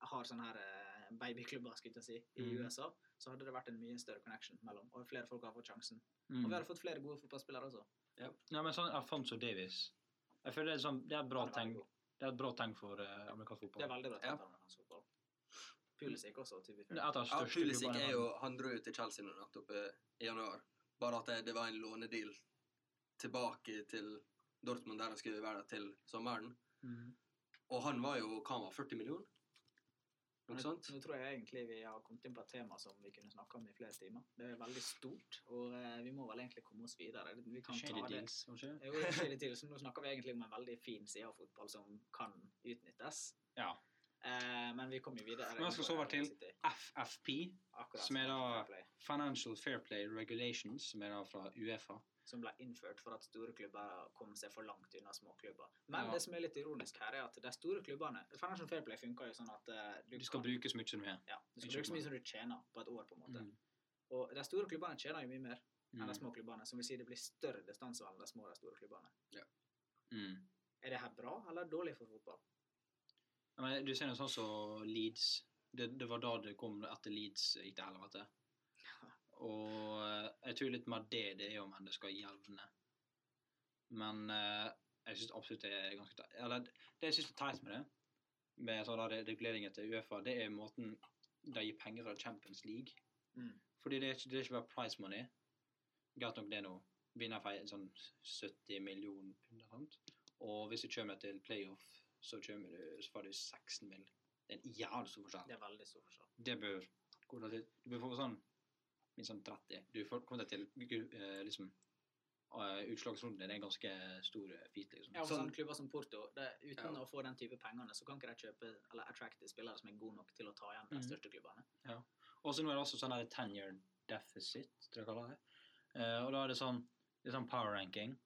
Speaker 1: har sånne her eh, babyklubber skulle jeg til å si, i
Speaker 3: Mhm.
Speaker 1: USA, så hadde det vært en mye større connection mellom, og flere folk har fått sjansen. Og vi
Speaker 3: mm.
Speaker 1: hadde fått flere gode fotballspillere også.
Speaker 3: ja, men sånn Alfonso Davis Jeg føler det er, sånn, det er, et, bra
Speaker 1: Han er veldig
Speaker 3: tegn,
Speaker 1: god.
Speaker 3: det er et bra tegn for eh, amerikansk
Speaker 1: Det er
Speaker 3: fotball.
Speaker 1: veldig bra
Speaker 2: Ja.
Speaker 1: tatt av hans fotball. Pulisic også, til vi
Speaker 3: Det er et av de
Speaker 2: Ja,
Speaker 3: største
Speaker 2: Pulisic
Speaker 3: klubbene i
Speaker 2: er
Speaker 3: verden.
Speaker 2: jo Han dro jo til Chelsea nå nettopp eh, i januar. Bare at det, det var en lånedeal tilbake til Dortmund, der han skulle være der til sommeren.
Speaker 3: Mm.
Speaker 2: Og han var jo hva han var, 40 millioner? Noe
Speaker 1: Nå,
Speaker 2: sånt?
Speaker 1: nå tror jeg egentlig vi har kommet inn på et tema som vi kunne snakke om i flere timer. Det er veldig stort, og eh, vi må vel egentlig komme oss videre. Vi kan
Speaker 3: Shady
Speaker 1: ta det.
Speaker 3: deals, var det ikke?
Speaker 1: Jo, det skjer litt til, så nå snakker vi egentlig om en veldig fin side av fotball som kan utnyttes.
Speaker 3: Ja.
Speaker 1: Eh, men vi kommer jo videre.
Speaker 3: Men jeg skal så over til- FFP,
Speaker 1: Akkurat,
Speaker 3: Som er da-
Speaker 1: Fair Play,
Speaker 3: Financial Fair Play Regulations, som er da fra Uefa.
Speaker 1: som ble innført for at store klubber kom seg for langt unna små klubber. Men
Speaker 3: Ja.
Speaker 1: det som er litt ironisk her, er at de store klubbene Financial Fair Play funker jo sånn at eh, du,
Speaker 3: Du skal
Speaker 1: kan-
Speaker 3: bruke så mye som du har.
Speaker 1: ja, du skal
Speaker 3: ikke
Speaker 1: bruke så mye
Speaker 3: mer.
Speaker 1: som du tjener på et år, på en måte.
Speaker 3: Mm.
Speaker 1: Og de store klubbene tjener jo mye mer enn de
Speaker 3: Mm.
Speaker 1: små klubbene, som vil si det blir større distanse mellom de små og de store klubbene.
Speaker 3: Mm.
Speaker 1: Er det her bra eller dårlig for fotball?
Speaker 3: Ja, Men du ser noe sånn som Leeds. Det, det var da det kom etter Leeds gikk til helvete. Og eh, jeg tror litt mer det det er om enn det skal jevne. Men eh, jeg syns absolutt det er ganske teit. Eller det jeg syns er teit med det, med sånne der reguleringer til Uefa, det er måten de gir penger fra Champions League.
Speaker 1: Mm.
Speaker 3: Fordi det er ikke, det er ikke bare prize money. Greit nok det nå. Vinner får en sånn 70 millioner pund eller noe. Og hvis du kommer til playoff, så, kommer du, så får du 16 mill. Det er en jævlig stor forskjell
Speaker 1: Det er veldig stor forskjell.
Speaker 3: det bør gå deg til. Du bør få sånn minst sånn 30. Du får komme deg til eh, liksom eh, utslagsrunden. Det er en ganske stor eh, feat, liksom.
Speaker 1: Ja, for sånn,
Speaker 2: Sånn-
Speaker 1: klubber som Porto, det, uten
Speaker 2: Ja.
Speaker 1: å få den type pengene, så kan ikke de kjøpe eller attracte spillere som er gode nok til å ta igjen de
Speaker 3: Mhm.
Speaker 1: største klubbene.
Speaker 3: Og så nå er det også sånn her tenure deficit, tror jeg jeg kaller det. Eh, og da er det sånn, det er sånn power ranking.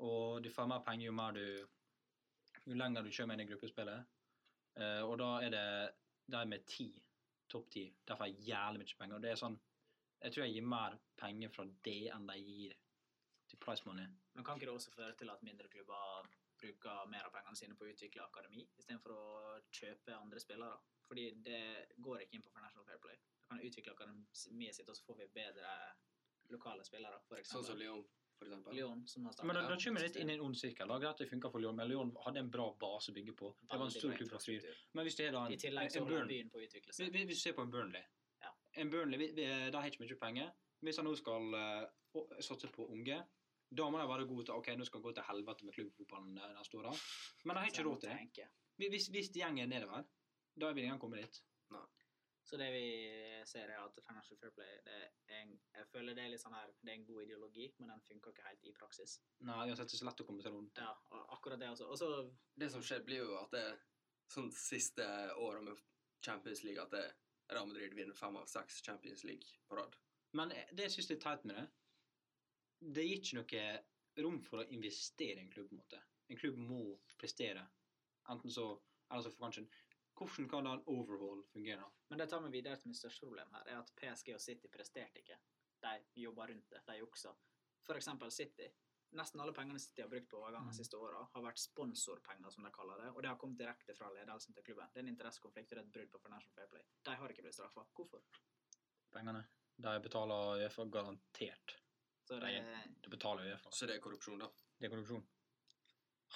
Speaker 3: Og du får mer penger jo mer du Jo lenger du kommer inn i gruppespillet. Eh, og da er det de med ti, topp ti, de får jævlig mye penger. Og det er sånn Jeg tror jeg gir mer penger fra det enn de gir til price money.
Speaker 1: Men kan ikke det også føre til at mindre klubber bruker mer av pengene sine på å utvikle akademi, istedenfor å kjøpe andre spillere? Fordi det går ikke inn på Financial Fair Play. Du kan utvikle akademiet sitt, og så får vi bedre lokale spillere, f.eks.
Speaker 2: Sånn som Lyon, for eksempel.
Speaker 1: Lyon, som har startet
Speaker 3: Men da, da
Speaker 1: opp
Speaker 3: kommer vi litt inn i
Speaker 1: system.
Speaker 3: en ond sirkel. da. Greit, det funka for Lyon, men Lyon hadde en bra base å bygge på. Det var en
Speaker 1: Veldig
Speaker 3: stor
Speaker 1: bra
Speaker 3: klubb fra Fyr.
Speaker 1: infrastruktur.
Speaker 3: Men hvis det er da en,
Speaker 1: I tillegg så
Speaker 3: en
Speaker 1: holder
Speaker 3: Burn,
Speaker 1: byen på å utvikle
Speaker 3: vi,
Speaker 1: seg.
Speaker 3: vi, vi ser på en Burnley.
Speaker 1: Ja.
Speaker 3: En Burnley, vi, vi, De har ikke mye penger. Hvis han nå skal eh, å- satse på unge, da må de være gode til ok, nå skal det gå til helvete med klubbfotballen eh, neste år. da. Men de har
Speaker 1: Så
Speaker 3: ikke
Speaker 1: jeg
Speaker 3: råd
Speaker 1: måtte
Speaker 3: til det.
Speaker 1: tenke.
Speaker 3: Hvis- Hvis, hvis de gjengen er nedover, da vil de gjerne komme dit.
Speaker 1: Så det vi ser, er at Financial Fair Play det er en, Jeg føler det er litt sånn her Det er en god ideologi, men den funker ikke helt i praksis.
Speaker 3: Nei, uansett, det er så lett å komme seg rundt.
Speaker 1: Ja, og akkurat det også. Og så
Speaker 2: Det som skjer, blir jo at det sånn siste året med Champions League at det, Real Madrid vinner fem av seks Champions League på rad.
Speaker 3: Men eh, det jeg syns er teit med det, det gir ikke noe rom for å investere i en klubb. på en måte. En klubb må prestere. Enten så Eller så får kanskje en Hvordan kan da en overhaul fungere?
Speaker 1: Men det tar meg videre til mitt største problem her, er at PSG og City presterte ikke. De jobba rundt det, de juksa. For eksempel City. Nesten alle pengene City har brukt på overgangen de
Speaker 3: Mm.
Speaker 1: siste åra, har vært sponsorpenger, som de kaller det, og det har kommet direkte fra ledelsen til klubben. Det er en interessekonflikt og det er et brudd på Financial Fair Play. De har ikke blitt straffa. Hvorfor?
Speaker 3: Pengene. De betaler Uefa garantert.
Speaker 1: Så det,
Speaker 3: De betaler Uefa.
Speaker 2: Så det er korrupsjon, da.
Speaker 3: Det er korrupsjon.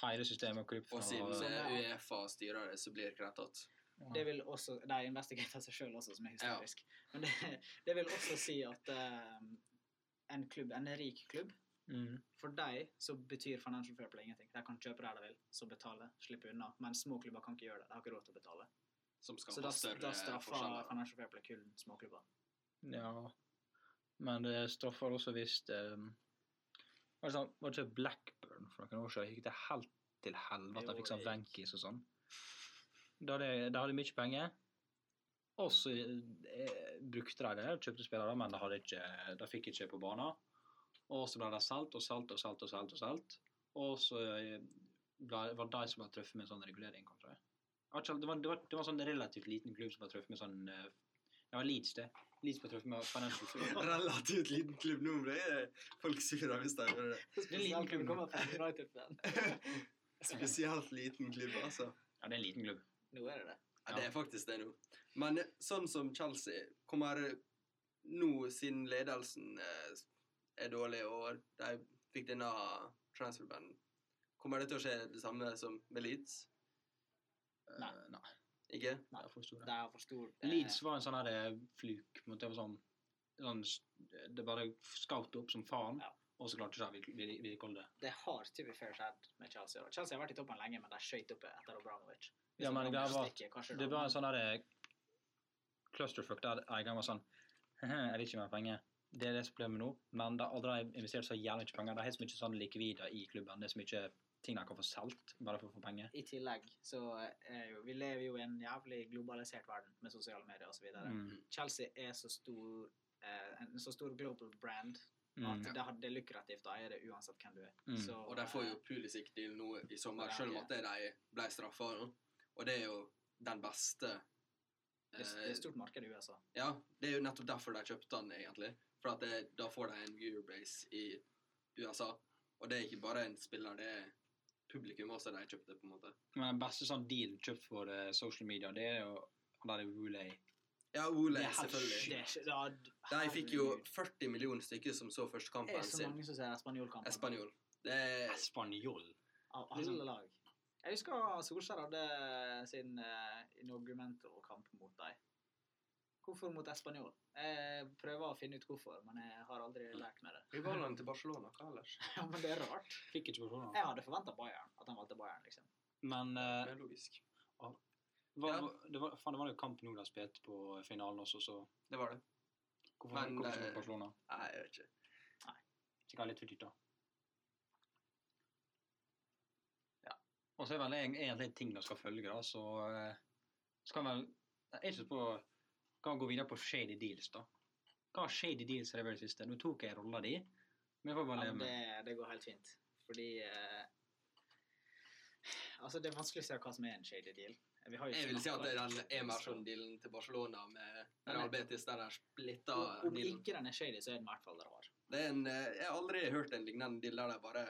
Speaker 3: Hele systemet er korrupt.
Speaker 2: Og siden
Speaker 1: Sånn,
Speaker 3: fra-
Speaker 2: det er Uefa styrer det, så blir det ikke det tatt.
Speaker 1: det vil også De investigerer seg sjøl også, som er
Speaker 2: Ja.
Speaker 1: hysterisk. Men det, det vil også si at eh, en klubb, en rik klubb,
Speaker 3: Mm.
Speaker 1: For deg så betyr Financial Fair Play ingenting. De kan kjøpe der de vil, så betale, slippe unna. Men små klubber kan ikke gjøre det. De har ikke råd til å betale.
Speaker 2: Som
Speaker 1: Så da,
Speaker 2: skaper
Speaker 1: da
Speaker 2: større
Speaker 1: straffer
Speaker 2: forskjeller.
Speaker 1: Financial Fair Play kun småklubber.
Speaker 3: Ja. Men det straffer også hvis ehm, var det sånn, Var det ikke Blackburn for noen år siden? Gikk det helt til helvete?
Speaker 1: Jo,
Speaker 3: Fikk sånn
Speaker 1: det gikk.
Speaker 3: Vankis og sånn. Da hadde, da hadde de mye penger. Og så eh, brukte de det, kjøpte spillere, men de, hadde ikke, de fikk ikke på banen. Og så ble de solgt og solgt og solgt og solgt. Og solgt. Og så eh, ble, var det de som ble truffet med en sånn regulering, kanskje. Jeg vet ikke, Det var, det, var, det var sånn relativt liten klubb som ble truffet med sånn eh, Det var Leeds, det. Leeds ble truffet med Financial Fair.
Speaker 2: Relativt liten klubb nå, men det er folk sure hvis de gjør det.
Speaker 3: er en liten klubb.
Speaker 1: Kommer fra United-fan.
Speaker 2: Spesielt liten klubb, altså.
Speaker 3: Ja, det er en liten klubb.
Speaker 1: Nå er det det.
Speaker 2: Ja, det er faktisk det nå. Men sånn som Chelsea kommer nå, siden ledelsen eh, er dårlig og de fikk denne transferbanden, kommer det til å skje det samme som med Leeds? Eh,
Speaker 1: Nei.
Speaker 3: Nei.
Speaker 2: Ikke?
Speaker 1: Nei.
Speaker 3: det er for store.
Speaker 1: De har for stor eh,
Speaker 3: Leeds var en sånn her eh, fluk. på en måte. Det var sånn, sånn Det bare skautet opp som faen,
Speaker 1: Ja.
Speaker 3: og så klarte ikke de å vid- vedlikeholde det.
Speaker 1: Det har to be fair skjedd med Chelsea. Da. Chelsea har vært i toppen lenge, men de skøyt opp etter Obramovic.
Speaker 3: Ja, men det var- Det var en
Speaker 1: sånn
Speaker 3: sånn her eh, clusterfuck der eieren var sånn Jeg vil ikke mer penger. Det er det som er problemet nå. Men de har aldri investert så jævlig mye penger. De har så mye sånn likvider i klubben. Det er så mye ting de kan få solgt bare for å få penger.
Speaker 1: I tillegg så er jo Vi lever jo i en jævlig globalisert verden med sosiale medier osv. videre.
Speaker 3: Mm.
Speaker 1: Chelsea er så stor eh, en så stor global brand
Speaker 3: Mm.
Speaker 1: at det har- det er lukrativt å eie det uansett hvem du er.
Speaker 3: Mm.
Speaker 1: Så, eh,
Speaker 2: Og de får jo Pulisic-deal nå i sommer,
Speaker 1: Ja,
Speaker 2: selv om
Speaker 1: ja.
Speaker 2: at de ble straffa nå. Og det er jo den beste
Speaker 1: eh, det, det er
Speaker 2: eh,
Speaker 1: et stort marked i USA.
Speaker 2: Ja, det er jo nettopp derfor de kjøpte den, egentlig. For at det, da får de en viewerbase i USA. Og det er ikke bare en spiller, det er publikum også de kjøpte, på en måte.
Speaker 3: Men den beste sånn deal kjøpt for eh, social media, det er jo han der Wooley.
Speaker 2: Ja, Ole,
Speaker 3: Det er helt
Speaker 2: selvfølgelig.
Speaker 1: Det er ikke- ja, d-
Speaker 2: De fikk jo
Speaker 1: herregud.
Speaker 2: 40 millioner stykker som så første
Speaker 1: Det er
Speaker 2: kampen
Speaker 1: så
Speaker 2: sin.
Speaker 1: mange som ser espanjolkampen
Speaker 2: Espanjol. Det er
Speaker 3: Spanjol.
Speaker 1: av alle
Speaker 3: Liksom.
Speaker 1: lag. Jeg husker Solskjær hadde sin eh, inaugural-kamp mot dem. Hvorfor mot Español? Jeg prøver å finne ut hvorfor, men jeg har aldri lært meg det.
Speaker 2: Rivalen til Barcelona, hva ellers?
Speaker 1: Ja, men det er rart.
Speaker 3: Fikk ikke personer.
Speaker 1: Jeg hadde forventa Bayern, at han valgte Bayern, liksom.
Speaker 3: Men eh,
Speaker 2: Det er logisk.
Speaker 3: hva,
Speaker 2: Ja.
Speaker 3: hva- det, var, faen, det var jo kamp nå de spilte på finalen også, så
Speaker 2: Det var det.
Speaker 3: hvorfor har
Speaker 2: Men,
Speaker 3: de kommet
Speaker 2: eh,
Speaker 3: til Barcelona?
Speaker 2: Nei, jeg vet ikke.
Speaker 3: Sikkert litt for dyrt, da. Ja. Og så er vel eg- egentlig ting de skal følge, da, så eh, så kan vel Jeg syns på kan gå videre på shady deals, da. Hva har shady deals er det vel siste? Nå tok jeg rolla di, men jeg får
Speaker 1: Ja,
Speaker 3: bare leve
Speaker 1: men
Speaker 3: med
Speaker 1: det, det går helt fint. Fordi eh, Altså, det er vanskelig å se hva som er en shady deal. Vi har jo
Speaker 2: Jeg vil si at det er sånn
Speaker 1: snakket om-
Speaker 2: den Emerson-dealen til Barcelona med Real Betis, der de splitta
Speaker 1: Om- Om
Speaker 2: dealen.
Speaker 1: ikke den er shady, så er den i hvert fall rar.
Speaker 2: Det er en, eh, jeg har aldri hørt en lignende deal der de bare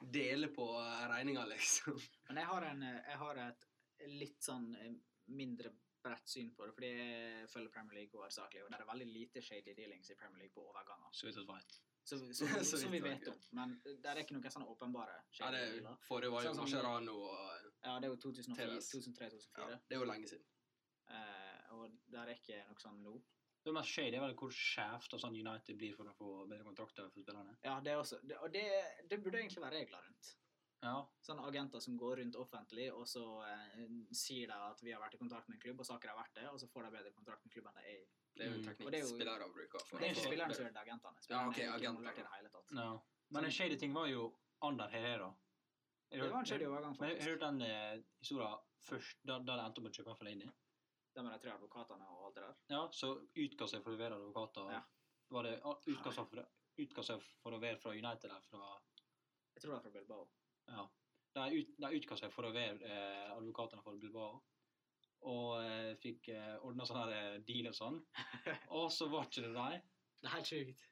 Speaker 2: deler på regninga, liksom.
Speaker 1: Men jeg har, en, eh, jeg har et litt sånn eh, mindre bredt syn på det, fordi jeg følger Premier League hovedsakelig, og det er veldig lite shady dealings i Premier League på overganger.
Speaker 3: Så vidt jeg vet.
Speaker 1: Så, så, som-
Speaker 2: Så
Speaker 1: som vi
Speaker 2: vidt
Speaker 1: vet
Speaker 2: jeg.
Speaker 1: om. Men det er ikke noen sånne åpenbare
Speaker 2: Ja,
Speaker 1: shady
Speaker 2: det
Speaker 1: dealer.
Speaker 2: forrige var jo
Speaker 1: Sånn som-
Speaker 2: Mascherano og
Speaker 1: Ja, det er jo 2004,
Speaker 2: Tevez.
Speaker 1: 2003-2004,
Speaker 2: ja, Det er jo lenge siden.
Speaker 1: eh, og det er ikke noe sånn nå.
Speaker 3: Det mest shady er vel hvor skjevt og sånn United blir for å få bedre kontrakter for spillerne.
Speaker 1: Ja, det er også, det, og det, det burde egentlig være regler rundt.
Speaker 3: Ja.
Speaker 1: Sånne agenter som går rundt offentlig, og så eh, sier de at vi har vært i kontakt med en klubb, og så har ikke de vært det, og så får de bedre kontrakt med klubben de er i.
Speaker 2: Det er jo
Speaker 3: Mm.
Speaker 2: en
Speaker 1: Og
Speaker 2: teknikk
Speaker 1: det er jo-
Speaker 2: spillere bruker. for
Speaker 1: Det er
Speaker 2: å
Speaker 1: ikke
Speaker 2: få-
Speaker 1: spillerne som gjør det, agentene.
Speaker 2: Ja, ok,
Speaker 1: Spillerne er ikke
Speaker 2: agenter.
Speaker 1: involvert i det hele tatt.
Speaker 3: ja. Men en shady ting var jo Ander Herrera. Har du
Speaker 1: Det var
Speaker 3: hørt-
Speaker 1: en skjedd overgang,
Speaker 3: Men jeg
Speaker 1: faktisk.
Speaker 3: hørte den eh, historien først, da, da de endte opp med å kjøpe han for Lady.
Speaker 1: Det med de tre advokatene og alt det der.
Speaker 3: Ja, så utga seg for å levere advokater.
Speaker 1: Ja.
Speaker 3: Var det, ah, utga seg for, utga seg for å være fra United eller fra
Speaker 1: Jeg tror det er fra Bilbao.
Speaker 3: Ja. De, ut, de utga seg for å være eh, advokatene for Bilbao. Og eh, fikk eh, ordna sånn her eh, deal og sånn. Og så var ikke det de.
Speaker 1: Det er helt sjukt.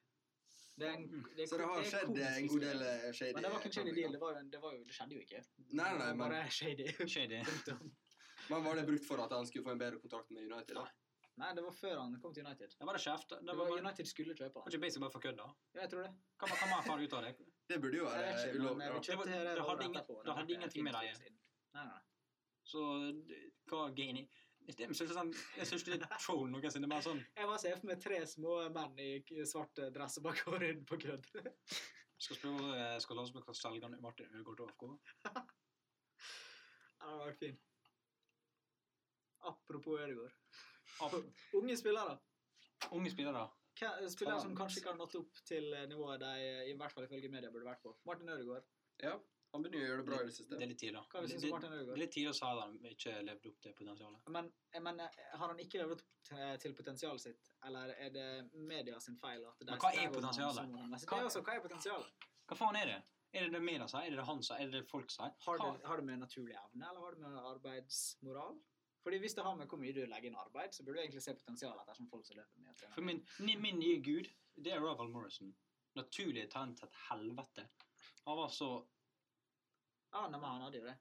Speaker 1: Det er en, det er,
Speaker 2: Så det har
Speaker 1: er
Speaker 2: skjedd
Speaker 1: komisk
Speaker 2: eh, en god
Speaker 1: historie.
Speaker 2: del eh, shady
Speaker 1: Men det var ikke en shady
Speaker 2: topic,
Speaker 1: deal.
Speaker 2: da.
Speaker 1: Det, var, jo en- det, var jo, det skjedde jo ikke.
Speaker 2: Nei, nei,
Speaker 1: det var
Speaker 2: men-
Speaker 1: bare shady.
Speaker 3: Shady.
Speaker 1: Punktum.
Speaker 2: Men var det brukt for at han skulle få en bedre kontrakt med United? da?
Speaker 1: nei, det var før han kom til United.
Speaker 3: Det var det kjeft. Det
Speaker 1: Det
Speaker 3: var
Speaker 1: var
Speaker 3: bare,
Speaker 1: United skulle kjøpe
Speaker 3: var
Speaker 1: han.
Speaker 3: ikke basic bare for kødd, da.
Speaker 1: Ja, jeg tror det.
Speaker 3: Hva hva man får ut av det?
Speaker 2: Det burde jo
Speaker 1: Jeg
Speaker 2: være
Speaker 1: vet ikke,
Speaker 2: eh,
Speaker 1: men,
Speaker 2: ulovlig.
Speaker 1: eh, vi
Speaker 2: da.
Speaker 3: Det var-
Speaker 1: kjøpte her
Speaker 3: det
Speaker 1: og rettet
Speaker 3: hadde ingen-
Speaker 1: på.
Speaker 3: det hadde
Speaker 1: var
Speaker 3: ingenting med
Speaker 1: fint
Speaker 3: det å
Speaker 1: siden. Nei, nei, nei.
Speaker 3: Så d- hva geni? Jeg syns ikke sånn, jeg synes ikke det er troll noensinne. Bare sånn
Speaker 1: Jeg var ser for meg tre små menn i k- svart eh, dress bak og rundt på kødd.
Speaker 3: Skal spørre eh, skal la oss bruke selgeren Martin Ødegaard til AFK.
Speaker 1: Ja, det var fint. Apropos Ødegaard.
Speaker 3: Ap-
Speaker 1: Unge spillere.
Speaker 3: Unge spillere.
Speaker 1: Hva- Spillere som
Speaker 2: Faen.
Speaker 1: kanskje ikke har nådd opp til eh, nivået de eh, i hvert fall ifølge media burde vært på. Martin Ødegaard.
Speaker 2: Ja, han begynner jo å gjøre det bra i det
Speaker 3: Det
Speaker 2: siste.
Speaker 3: er litt tidlig.
Speaker 1: Hva vi
Speaker 3: Det,
Speaker 1: synes om
Speaker 3: det,
Speaker 1: Martin
Speaker 3: det
Speaker 1: Ødegaard?
Speaker 3: er litt tidlig å si at han ikke levde opp til potensialet.
Speaker 1: Men, men eh, har han ikke levd opp t- til potensialet sitt, eller er det media sin feil? At de
Speaker 3: Men hva er
Speaker 1: skrev om han
Speaker 3: potensialet?
Speaker 1: som han er? Så Det
Speaker 3: Hva-
Speaker 1: er også, hva er potensialet?
Speaker 3: Hva faen er det? Er det det media sier? Er det det han sier? Er det det folk sier?
Speaker 1: Har
Speaker 3: Hva-
Speaker 1: det, har det med naturlig evne, eller har det med arbeidsmoral? Fordi hvis det har med hvor mye du legger inn arbeid, så burde du egentlig se potensialet etter som folk som løper mye og trener.
Speaker 3: For min, ni- min nye gud, det er Raval Morrison. Naturlig talent til et helvete. Han var så
Speaker 1: Ja, nei, men han hadde jo det.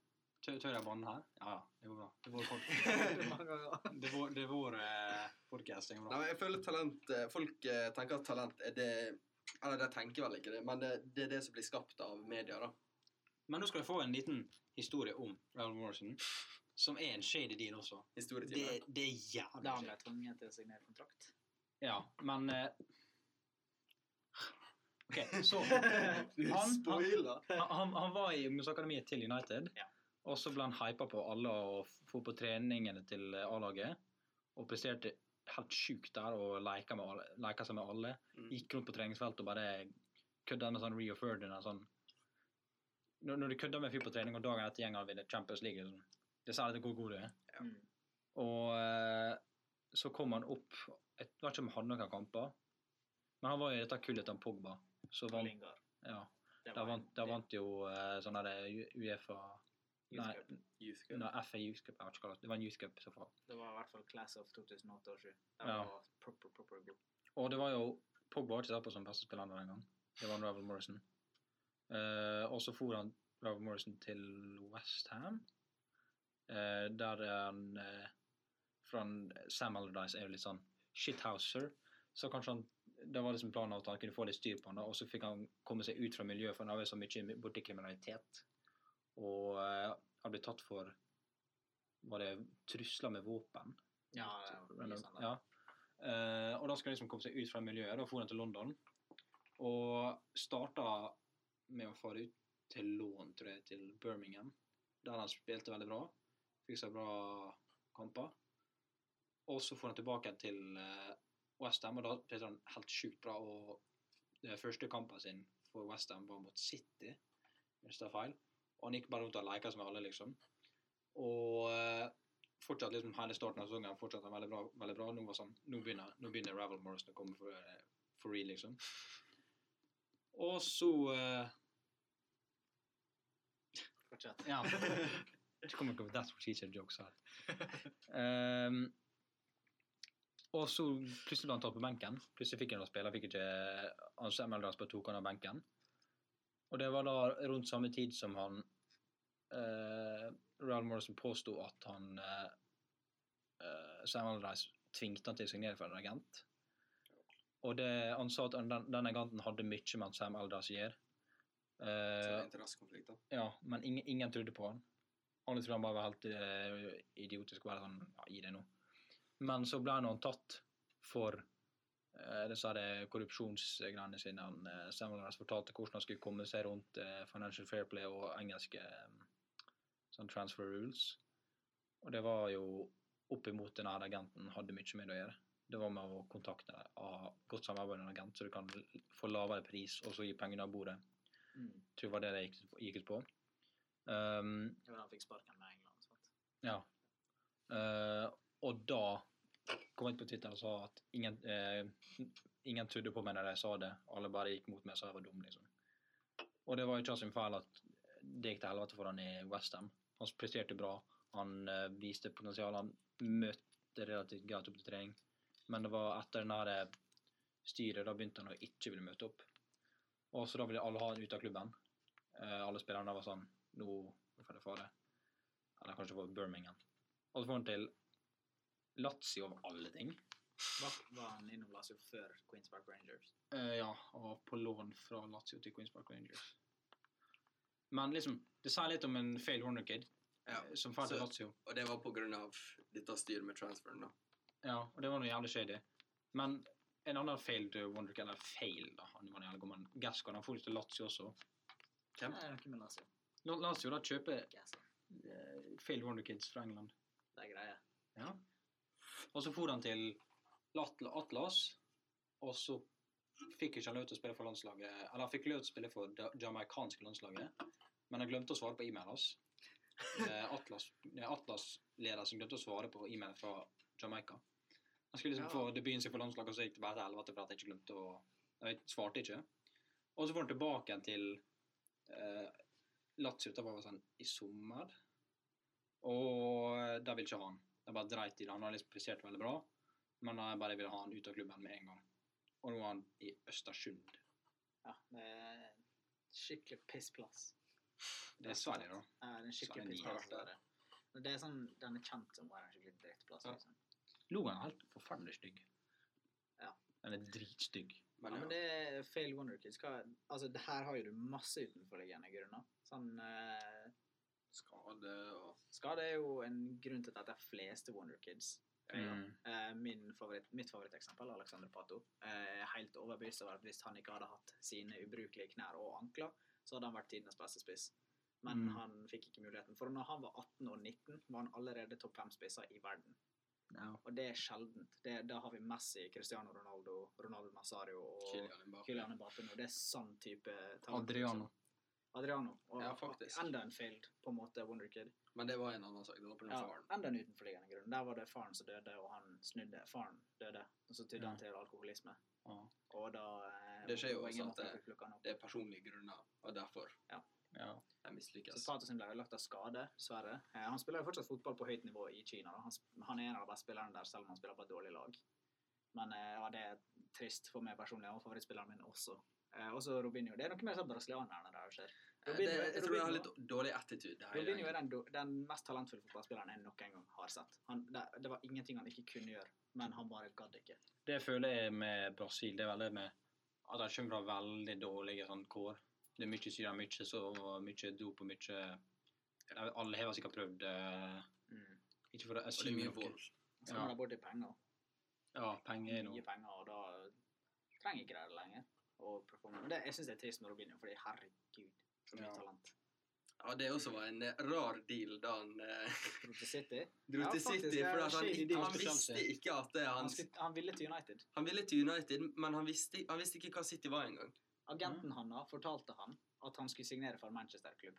Speaker 3: Tør tør jeg banne her? Ja, ja. Det går bra. Det er vår folk.
Speaker 1: Mange ganger.
Speaker 3: Det er vår, det er vår eh, podcast, det går
Speaker 2: Nei,
Speaker 3: bra.
Speaker 2: men jeg føler talent eh, Folk eh, tenker at talent er det Eller de tenker vel ikke det, men det, det er det som blir skapt av media, da.
Speaker 3: Men nå skal du få en liten historie om Raval Morrison, som er en shady deal også. Det,
Speaker 2: Historietimen.
Speaker 3: det er jævlig
Speaker 1: Da han ble
Speaker 3: shady.
Speaker 1: tvunget til å signere kontrakt.
Speaker 3: Ja, men eh, OK, så
Speaker 2: Du
Speaker 3: Han-
Speaker 2: spoiler!
Speaker 3: Han, han- han var i ungdomsakademiet til United,
Speaker 1: Ja.
Speaker 3: og så ble han hypa på alle og f- for på treningene til eh, A-laget. Og presterte helt sjukt der og leka, med alle, leka seg med alle.
Speaker 2: Mm.
Speaker 3: Gikk rundt på treningsfeltet og bare kødda med sånn Rio Ferdinand. Sånn. Når, når du kødder med en fyr på trening, og dagen etter gjengen vinner Champions League liksom. Det sier litt hvor god du er.
Speaker 2: Ja.
Speaker 1: Mm.
Speaker 3: Og eh, så kom han opp Jeg vet ikke om han hadde noen kamper, men han var i dette kullet til Pogba. Så
Speaker 1: Og
Speaker 3: vant,
Speaker 1: Lingard.
Speaker 3: ja.
Speaker 1: Det
Speaker 3: Da
Speaker 1: var
Speaker 3: vant,
Speaker 1: en-
Speaker 3: da
Speaker 1: det-
Speaker 3: vant jo eh, sånn der U- Uefa Nei,
Speaker 1: Youth Cup.
Speaker 2: Youth Cup.
Speaker 3: nei FA Youth Cup. Jeg vet ikke hva det var. Det var en Youth Cup i så fall.
Speaker 1: Det var i hvert fall Class of 2008 og 2007. Det
Speaker 3: Ja.
Speaker 1: var proper, proper god.
Speaker 3: Og det var jo Pogba var ikke satt på som beste spiller den gang. Det var Ravel Morrison. Eh, og så for han Ravel Morrison til Westham, uh, der er han eh, fra en- Sam Allardyce er jo litt sånn shithouser. Så kanskje han Det var liksom planen at han kunne få litt styr på han, da, og så fikk han komme seg ut fra miljøet, for han har jo så mye borti kriminalitet. Og eh, han ble tatt for Var det trusler med våpen?
Speaker 1: Ja, det var mye
Speaker 3: Eller-
Speaker 1: sånn da.
Speaker 3: ja. Eh, og da skal han liksom komme seg ut fra miljøet. Da for han til London og starta med å fare ut til lån, tror jeg, til Birmingham, der han spilte veldig bra. Fikk seg bra kamper. Og så for han tilbake til eh, West Ham, og da spilte han helt sjukt bra. Og den første kampen sin for West Ham var mot City, hvis det er feil. Og han gikk bare rundt og leka som alle, liksom. Og eh, fortsatt liksom hele starten av sesongen fortsatt han veldig bra. veldig bra. Nå, var sånn, nå begynner, nå begynner Ravel Morrison å komme for, eh, for real, liksom. Og så eh,
Speaker 1: Fortsett.
Speaker 3: Ja. Det kommer ikke That's what she said jokes her. Ehm, og så plutselig ble han tatt på benken. Plutselig fikk han å spille. Fikk ikke han Sam Eldras bare tok han av benken. Og det var da rundt samme tid som han uh, Real Morrison påsto at han uh, Sam Eldras tvingte han til å signere for en agent. Og det, han sa at den, den agenten hadde mye med Sam Eldras å gjøre.
Speaker 2: Så det
Speaker 3: Eh,
Speaker 2: er interessekonflikt, da.
Speaker 3: ja, men ingen, ingen trodde på han. Alle trodde han bare var helt eh, idiotisk og bare sånn ja, gi det nå. Men så ble han tatt for uh, disse her korrupsjonsgreiene sine. Han uh, fortalte hvordan han skulle komme seg rundt eh, Financial Fair Play og engelske eh, sånn transfer rules. Og det var jo oppimot den her agenten hadde mye med det å gjøre. Det var med å kontakte deg, ha godt samarbeid med en agent, så du kan få lavere pris og så gi pengene av bordet
Speaker 1: Mm.
Speaker 3: tror det var det det gikk, gikk ut på. Ehm,
Speaker 1: Det var da han fikk sparken med England. Sant?
Speaker 3: ja. Ehm, Eh, og da kom jeg ut på Twitter og sa at ingen, eh, ingen trodde på meg når jeg sa det. Alle bare gikk mot meg og sa jeg var dum, liksom. Og det var ikke sin feil at det gikk til helvete for han i Westham. Han presterte bra. Han eh, viste potensial. Han møtte relativt greit opp til trening. Men det var etter den her eh, styret, da begynte han å ikke ville møte opp. Og så da ville alle ha han ut av klubben. Eh, alle spillerne var sånn Nå nå får det fare. Eller kanskje det var Birmingham. Og så får han til Lazio av alle ting.
Speaker 1: Var, var han innom Lazio før Queens Park Rangers?
Speaker 3: Eh, ja, og var på lån fra Lazio til Queens Park Rangers. Men liksom, det sier litt om en fail Horner Kid
Speaker 2: Ja,
Speaker 3: eh, som drar til
Speaker 2: så-
Speaker 3: Lazio.
Speaker 2: Og det var på grunn av dette styret med transferen, da.
Speaker 3: Ja, og det var noe jævlig shady. Men en annen failed Wonder Kid, eller fail, da, han var en jævlig god mann. Gascon, han får til Lazio også.
Speaker 1: Nei,
Speaker 2: Hvem?
Speaker 1: det er noe med Lazio.
Speaker 3: Nå- Lazio da kjøper
Speaker 1: Gasser.
Speaker 3: eh, failed Wonder Kids fra England.
Speaker 1: Det er greia.
Speaker 3: Ja. Og så for han til Atla- Atlas, og så fikk ikke han lov til å spille for landslaget, eller han fikk lov til å spille for det jamaikanske landslaget, men han glemte å svare på e-mailen hans. Eh, Atlas, nei, Atlas-leder som glemte å svare på e-mailen fra Jamaica. Han skulle
Speaker 2: Ja.
Speaker 3: liksom få debuten sin for landslaget, og så gikk det bare til helvete for at han ikke glemte å Jeg svarte ikke. Og så får han tilbake igjen til eh, Lazio det var sånn i sommer. Og eh, der vil ikke ha han. Jeg bare dreit i det. Han har liksom prestert veldig bra, men jeg bare ville ha han ut av klubben med en gang. Og nå er han i Østersund.
Speaker 1: Ja, det er en skikkelig pissplass.
Speaker 3: Det er Sverige, da.
Speaker 1: Ja, det er en skikkelig
Speaker 3: Sverige
Speaker 1: pissplass.
Speaker 2: har vært
Speaker 1: Det er. Men det er sånn, den er kjent som å være en skikkelig drittplass.
Speaker 2: Ja.
Speaker 1: Liksom.
Speaker 3: Loen er helt forferdelig stygg.
Speaker 1: Ja.
Speaker 3: Den er dritstygg.
Speaker 1: Ja, men det er fail wonder kids. Hva, altså, det her har jo du masse utenforliggende grunner. Sånn, eh,
Speaker 2: skade og
Speaker 1: skade er jo en grunn til at det er fleste wonder kids.
Speaker 3: Mm.
Speaker 1: Eh, min favoritt, mitt favoritteksempel, Alexander Pato, eh, er helt overbevist over at hvis han ikke hadde hatt sine ubrukelige knær og ankler, så hadde han vært tidenes beste spiss. Men
Speaker 3: Mm.
Speaker 1: han fikk ikke muligheten. For når han var 18 og 19, var han allerede topp fem spisser i verden.
Speaker 3: Ja.
Speaker 1: Og det er sjeldent. Det, da har vi Messi, Cristiano Ronaldo, Ronaldo Nazario og
Speaker 2: Kylian Mbappé.
Speaker 1: Kylian Mbappé nå. Det er sann type talent. liksom.
Speaker 3: Adriano.
Speaker 1: Adriano. Og
Speaker 2: Ja, faktisk.
Speaker 1: enda en failed, på en måte, Wonderkid.
Speaker 2: Men det var en annen sak. Det var på den
Speaker 1: Ja,
Speaker 2: faren.
Speaker 1: enda en utenforliggende grunn. Der var det faren som døde, og han snudde. Faren døde, og så tydde
Speaker 3: Ja.
Speaker 1: han til alkoholisme.
Speaker 3: Ja.
Speaker 1: Og da eh,
Speaker 2: Det skjer jo
Speaker 1: var ingen
Speaker 2: også at
Speaker 1: måte å
Speaker 2: det-
Speaker 1: plukke han opp.
Speaker 2: Det er personlige grunner, og derfor
Speaker 3: Ja.
Speaker 2: jeg
Speaker 1: Så
Speaker 2: mislykkes.
Speaker 1: Tato sin ble ødelagt av skade, dessverre. Eh, han spiller jo fortsatt fotball på høyt nivå i Kina. Da. Han, sp- han er en av de beste spillerne der, selv om han spiller på et dårlig lag. Men eh, ja, det er trist for meg personlig, og favorittspilleren min også. Eh, også Robinho. Det er noe med disse brasilianerne der som skjer.
Speaker 2: Eh, det,
Speaker 1: Robinho-
Speaker 2: jeg tror jeg har
Speaker 1: Robinho-
Speaker 2: litt dårlig attitude. her i
Speaker 1: Robinho
Speaker 2: dag.
Speaker 1: er den, do- den mest talentfulle fotballspilleren jeg noen gang har sett. Han, det, det var ingenting han ikke kunne gjøre, men han bare gadd ikke.
Speaker 3: Det føler jeg med Brasil. Det er veldig med at de kommer fra veldig dårlige sånn, kår. Det er mye syre, mye sov, mye dop og mye Alle har sikkert prøvd eh,
Speaker 2: Mm.
Speaker 3: Ikke for å
Speaker 2: Og det er
Speaker 3: assume
Speaker 2: mye
Speaker 3: noe.
Speaker 2: vold.
Speaker 1: Så
Speaker 3: Ja.
Speaker 1: kommer det bort til penger.
Speaker 3: Ja, penger er noe.
Speaker 1: Mye penger, og da trenger ikke de det lenger. Og performe. Men det, jeg syns det er trist med Robinho, fordi herregud, så mye
Speaker 3: Ja.
Speaker 1: talent.
Speaker 2: Ja, det også var en eh, rar deal da han eh,
Speaker 1: Dro til City.
Speaker 2: dro
Speaker 1: Ja,
Speaker 2: til
Speaker 1: faktisk,
Speaker 2: City.
Speaker 1: det er
Speaker 2: For at han,
Speaker 1: shady
Speaker 2: ikke-
Speaker 1: deal
Speaker 2: han
Speaker 3: til
Speaker 2: visste
Speaker 3: Chelsea.
Speaker 2: ikke at det,
Speaker 1: Han,
Speaker 2: han,
Speaker 1: skulle, han ville til United.
Speaker 2: han ville til United, men han visste, han visste ikke hva City var engang.
Speaker 1: Agenten
Speaker 3: Mm.
Speaker 1: hans fortalte han at han skulle signere for Manchester-klubb.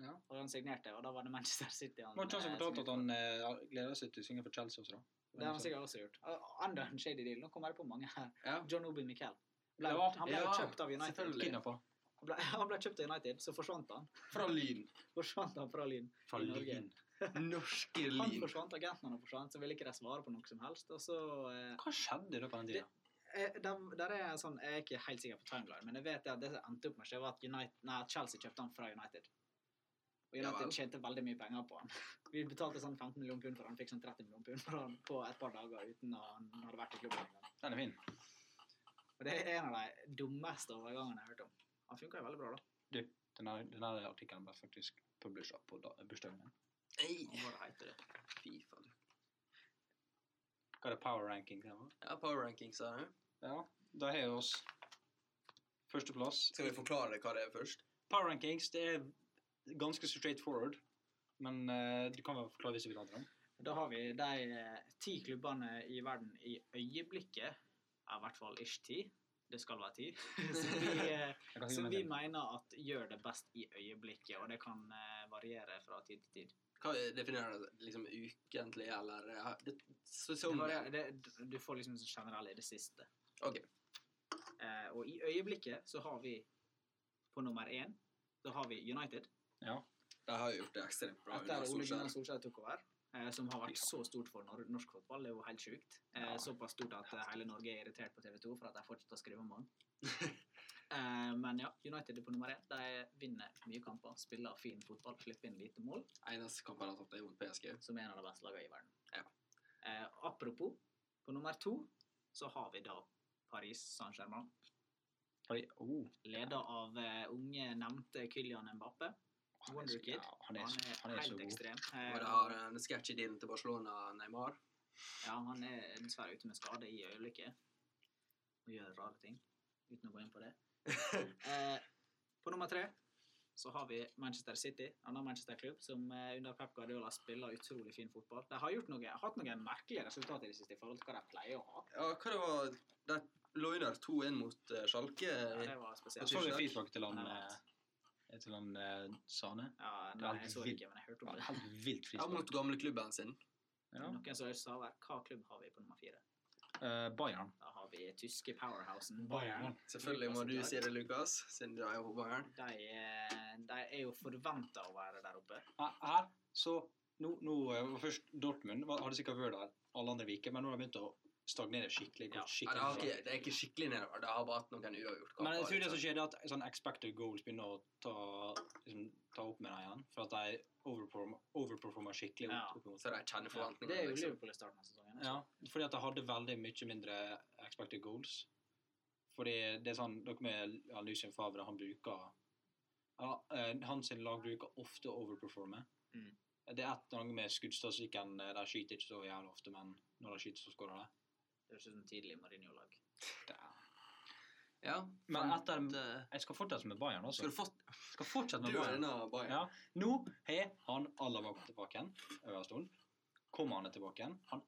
Speaker 3: Ja.
Speaker 1: Og han signerte, og da var det Manchester City han
Speaker 3: Det var ikke han som
Speaker 1: eh,
Speaker 3: fortalte at
Speaker 1: signerte for.
Speaker 3: han eh, gleder seg til å synge for Chelsea også, da.
Speaker 1: Det har han sikkert også gjort. Og Enda en shady deal. Nå kommer jeg på mange her.
Speaker 2: Ja.
Speaker 1: John Obi Miquel. Ble,
Speaker 3: Ja,
Speaker 1: han ble jo
Speaker 2: ja,
Speaker 1: kjøpt av United.
Speaker 2: selvfølgelig.
Speaker 3: Kidnappa.
Speaker 1: Han ble, han ble kjøpt av United, så forsvant han.
Speaker 2: Fra Lyn.
Speaker 1: Forsvant han fra Lyn.
Speaker 3: Fra
Speaker 1: I Norge.
Speaker 3: Lyn.
Speaker 2: Norske
Speaker 1: Han
Speaker 2: Lyn.
Speaker 1: forsvant, agenten han forsvant, så ville ikke de svare på noe som helst. Og så eh,
Speaker 3: Hva skjedde da på den tida?
Speaker 1: Eh, Der, der er jeg sånn, jeg er ikke helt sikker på timeline, men jeg vet det at det som endte opp med seg, var at United, nei, at Chelsea kjøpte han fra United. Og
Speaker 2: Ja
Speaker 1: United
Speaker 2: vel.
Speaker 1: tjente veldig mye penger på han. Vi betalte sånn 15 millioner pund for han, fikk sånn 30 millioner pund for han på et par dager uten at han hadde vært i klubben engang.
Speaker 3: Den er fin.
Speaker 1: Og det er en av de dummeste overgangene jeg har hørt om. Han funka jo veldig bra, da.
Speaker 3: Du, den her- den her artikkelen ble faktisk publisert på da- bursdagen min.
Speaker 2: Ei,
Speaker 1: Han var det heter det.
Speaker 2: Fy faen.
Speaker 3: Hva er det power ranking? det var?
Speaker 2: Ja, power rankings her. ja.
Speaker 3: Ja, da har vi oss førsteplass.
Speaker 2: Skal vi forklare hva det er først?
Speaker 3: Power rankings det er ganske straight forward, men eh, du kan vel forklare hvis du vil ha det.
Speaker 1: Da har vi de eh, ti klubbene i verden i øyeblikket, er i hvert fall ish ti. Det skal være ti. Så vi... Eh, Som vi mener at gjør det best i øyeblikket, og det kan eh, variere fra tid til tid.
Speaker 2: Hva definerer det? Liksom ukentlig, eller eh, det-
Speaker 1: Det
Speaker 2: sesongen?
Speaker 1: Mm. varierer, det, du får liksom sånn generell i det siste.
Speaker 2: Ok.
Speaker 1: Eh, og i øyeblikket så har vi på nummer én så har vi United.
Speaker 3: Ja.
Speaker 2: De har jo gjort det ekstremt bra.
Speaker 1: Etter
Speaker 2: under
Speaker 1: Ole
Speaker 2: Solskjær.
Speaker 1: Gunnar Solskjær tok over. eh, Som har vært så stort for nor norsk fotball. Det er jo helt sjukt. Eh,
Speaker 3: Ja.
Speaker 1: Såpass stort at eh, hele Norge er irritert på TV 2 for at de fortsetter å skrive om han. Eh, Men ja, United er på nummer én. De vinner mye kamper, spiller fin fotball, slipper inn lite mål,
Speaker 2: Eneste kampen han har tatt, er mot PSG.
Speaker 1: som er en av de beste lagene i verden.
Speaker 2: Ja.
Speaker 1: Eh, Apropos, på nummer to så har vi da Paris Saint-Germain.
Speaker 3: Oi, oh,
Speaker 1: Leder av eh, unge nevnte Kylian Mbappé.
Speaker 3: han, er så,
Speaker 1: Wonderkid.
Speaker 3: ja, han, er, så- han er så
Speaker 1: helt
Speaker 3: god.
Speaker 1: ekstrem.
Speaker 2: Og
Speaker 1: Eh,
Speaker 2: de har en sketsj i din til Barcelona, Neymar.
Speaker 1: Ja, han er dessverre ute med skade i øyeblikket. Og gjør rare ting. Uten å gå inn på det. Eh, på nummer tre så har vi Manchester City, annen Manchester-klubb, som eh, under Pep Guardiola spiller utrolig fin fotball. De har gjort noe, hatt noen merkelige resultater i det siste i forhold til hva de pleier å ha.
Speaker 2: Ja, hva det var De lå under 2-1 mot eh, Schalke.
Speaker 1: Ja, det var
Speaker 3: Jeg
Speaker 1: spesielt.
Speaker 3: så
Speaker 2: Tusen
Speaker 3: en
Speaker 2: takk.
Speaker 3: frispark til han,
Speaker 1: Nei,
Speaker 3: eh, til han eh, Sane.
Speaker 1: Ja,
Speaker 3: Det var
Speaker 1: nei, jeg så det
Speaker 3: vilt.
Speaker 1: ikke, men jeg
Speaker 3: Det
Speaker 1: hørte
Speaker 3: var
Speaker 1: om
Speaker 3: en
Speaker 1: det.
Speaker 3: helt vilt
Speaker 2: Ja, mot
Speaker 3: frispark.
Speaker 2: gamleklubben sin.
Speaker 3: Ja.
Speaker 1: Noen som sa hver, hva klubb har vi på nummer fire?
Speaker 3: Eh, Bayern.
Speaker 1: Da har vi tyske powerhousen
Speaker 3: Bayern.
Speaker 2: Selvfølgelig må du si det, Lukas, siden du er jo på Bayern.
Speaker 1: De, eh, de er jo forventa å være der oppe.
Speaker 3: Her, her så nå, nå eh, var Først Dortmund var- hadde sikkert vært der alle andre uker, men nå har de begynt å stagnere skikkelig.
Speaker 1: Ja.
Speaker 3: gått
Speaker 2: Ja, det,
Speaker 3: skikkelig
Speaker 2: har
Speaker 3: bra.
Speaker 2: ikke, det er ikke skikkelig nedover. Det har bare hatt noen uavgjort kamper.
Speaker 3: Men jeg tror det som
Speaker 2: liksom.
Speaker 3: skjer, er at sånn expected goals begynner å ta, liksom, ta opp med dem igjen. For at de overperformer, overperformer skikkelig
Speaker 1: Ja.
Speaker 3: opp, opp mot
Speaker 2: Så de kjenner
Speaker 1: Det er
Speaker 2: forventningene,
Speaker 1: jo
Speaker 2: liksom.
Speaker 1: Liverpool i starten av sesongen.
Speaker 3: Ja, fordi at de hadde veldig mye mindre expected goals. Fordi det er sånn, dere med ja, Lucien Favre, han bruker ja, eh, Hans sin lag bruker ofte å overperforme.
Speaker 1: Mm.
Speaker 3: Det er et eller annet med skuddstatistikken. eh, De skyter ikke så jævlig ofte, men når de skyter, så skårer de.
Speaker 1: Det høres ut som sånn tidlig Mourinho-lag.
Speaker 3: Det er-
Speaker 2: Ja,
Speaker 3: Men
Speaker 2: fant,
Speaker 3: etter-
Speaker 2: eh,
Speaker 3: Jeg skal fortsette med Bayern, altså.
Speaker 2: Skal du fått
Speaker 3: Skal fortsette
Speaker 2: Du
Speaker 3: med
Speaker 2: er
Speaker 3: Bayern.
Speaker 2: denne Bayern.
Speaker 3: Ja. Nå har han Alaba kommet tilbake igjen. Øverstolen. Kommer han tilbake igjen? Han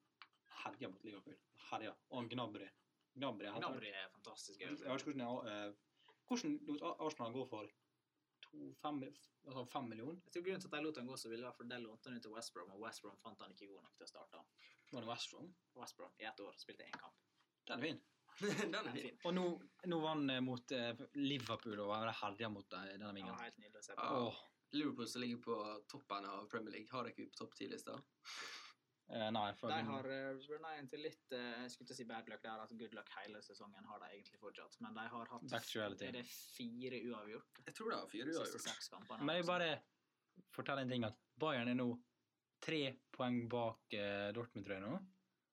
Speaker 3: herjer mot Liverpool. Herjer. Og han Gnabry. Gnabry er helt-
Speaker 1: Gnabry er fantastisk.
Speaker 3: Jeg vet ikke hvordan, jeg, eh, hvordan lot Ar- Arsenal gå for to, fem, altså fem millioner?
Speaker 1: Jeg tror grunnen til at de lot han gå, så ville være fordi de lånte han ut til West Brom, og West Brom fant han ikke god nok til å starte. han.
Speaker 3: Var det West Brom?
Speaker 1: West Brom i ett år spilte én kamp.
Speaker 3: Den er fin.
Speaker 2: Den
Speaker 1: Det
Speaker 2: er
Speaker 1: er
Speaker 2: fin.
Speaker 1: fint.
Speaker 3: Og nå, nå vann eh, mot eh, Liverpool og har herja mot de- denne
Speaker 1: Ja,
Speaker 3: vingen.
Speaker 1: helt nydelig å se på.
Speaker 2: Ja.
Speaker 3: Åh,
Speaker 2: Liverpool som ligger på toppen av Premier League, har ikke vi på topp ti-lista?
Speaker 3: eh, nei, for
Speaker 1: De har uh, til litt eh, jeg skulle til å si bad luck der, at good luck hele sesongen har de egentlig fortsatt. Men de har hatt
Speaker 3: Back to reality.
Speaker 1: er det fire uavgjort
Speaker 2: Jeg tror det er fire
Speaker 1: de siste
Speaker 2: uavgjort.
Speaker 1: seks kampene.
Speaker 3: Men jeg bare forteller en ting at Bayern er nå tre poeng bak eh, Dortmund, tror jeg nå.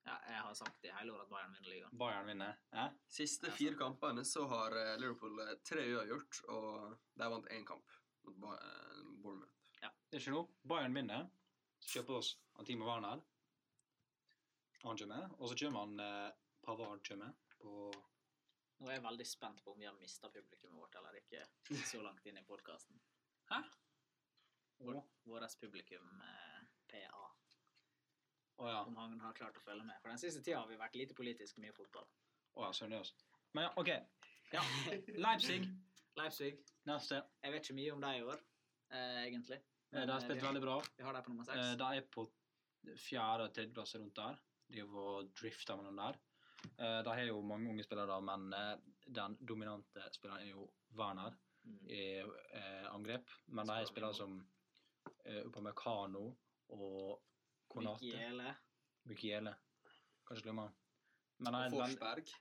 Speaker 1: ja, Jeg har sagt i hele år at Bayern vinner ligaen.
Speaker 3: Bayern vinner. Eh?
Speaker 2: Siste
Speaker 1: Ja, sant.
Speaker 2: fire kampene så har eh, Liverpool eh, tre uavgjort, og de vant én kamp mot Ba- eh, Bournemouth.
Speaker 3: Det er ikke noe. Bayern vinner. Så kjøper oss Antimo Werner. Han kommer. Og så kommer han eh, Pavard kommer på
Speaker 1: Nå er jeg veldig spent på om vi har mista publikummet vårt eller ikke så langt inn i podkasten.
Speaker 3: Hæ?
Speaker 1: Vårt publikum, eh, PA.
Speaker 3: Å ja.
Speaker 1: om han har klart å følge med. For den siste tida har vi vært lite politisk, mye fotball.
Speaker 3: Å ja, søren jøss. Men ja, OK. Ja. Leipzig
Speaker 1: Leipzig.
Speaker 3: neste.
Speaker 1: Jeg vet ikke mye om dem i år, eh, egentlig.
Speaker 3: Eh, De har spilt
Speaker 1: vi,
Speaker 3: veldig bra.
Speaker 1: vi har dem på nummer
Speaker 3: Eh,
Speaker 1: seks.
Speaker 3: De er på fjerde- og tredjeplass rundt der. De har drifta mellom der. Eh, De har jo mange unge spillere, men eh, den dominante spilleren er jo Werner.
Speaker 1: Mm.
Speaker 3: i eh, angrep. Men de
Speaker 1: Spiller
Speaker 3: har
Speaker 1: med
Speaker 3: spillere
Speaker 1: mål.
Speaker 3: som eh, Upamecano og Konate.
Speaker 1: Mikiele.
Speaker 3: Mukiele. Kanskje glemmer han. Men
Speaker 2: Og
Speaker 3: han er en veldig
Speaker 2: Forsberg,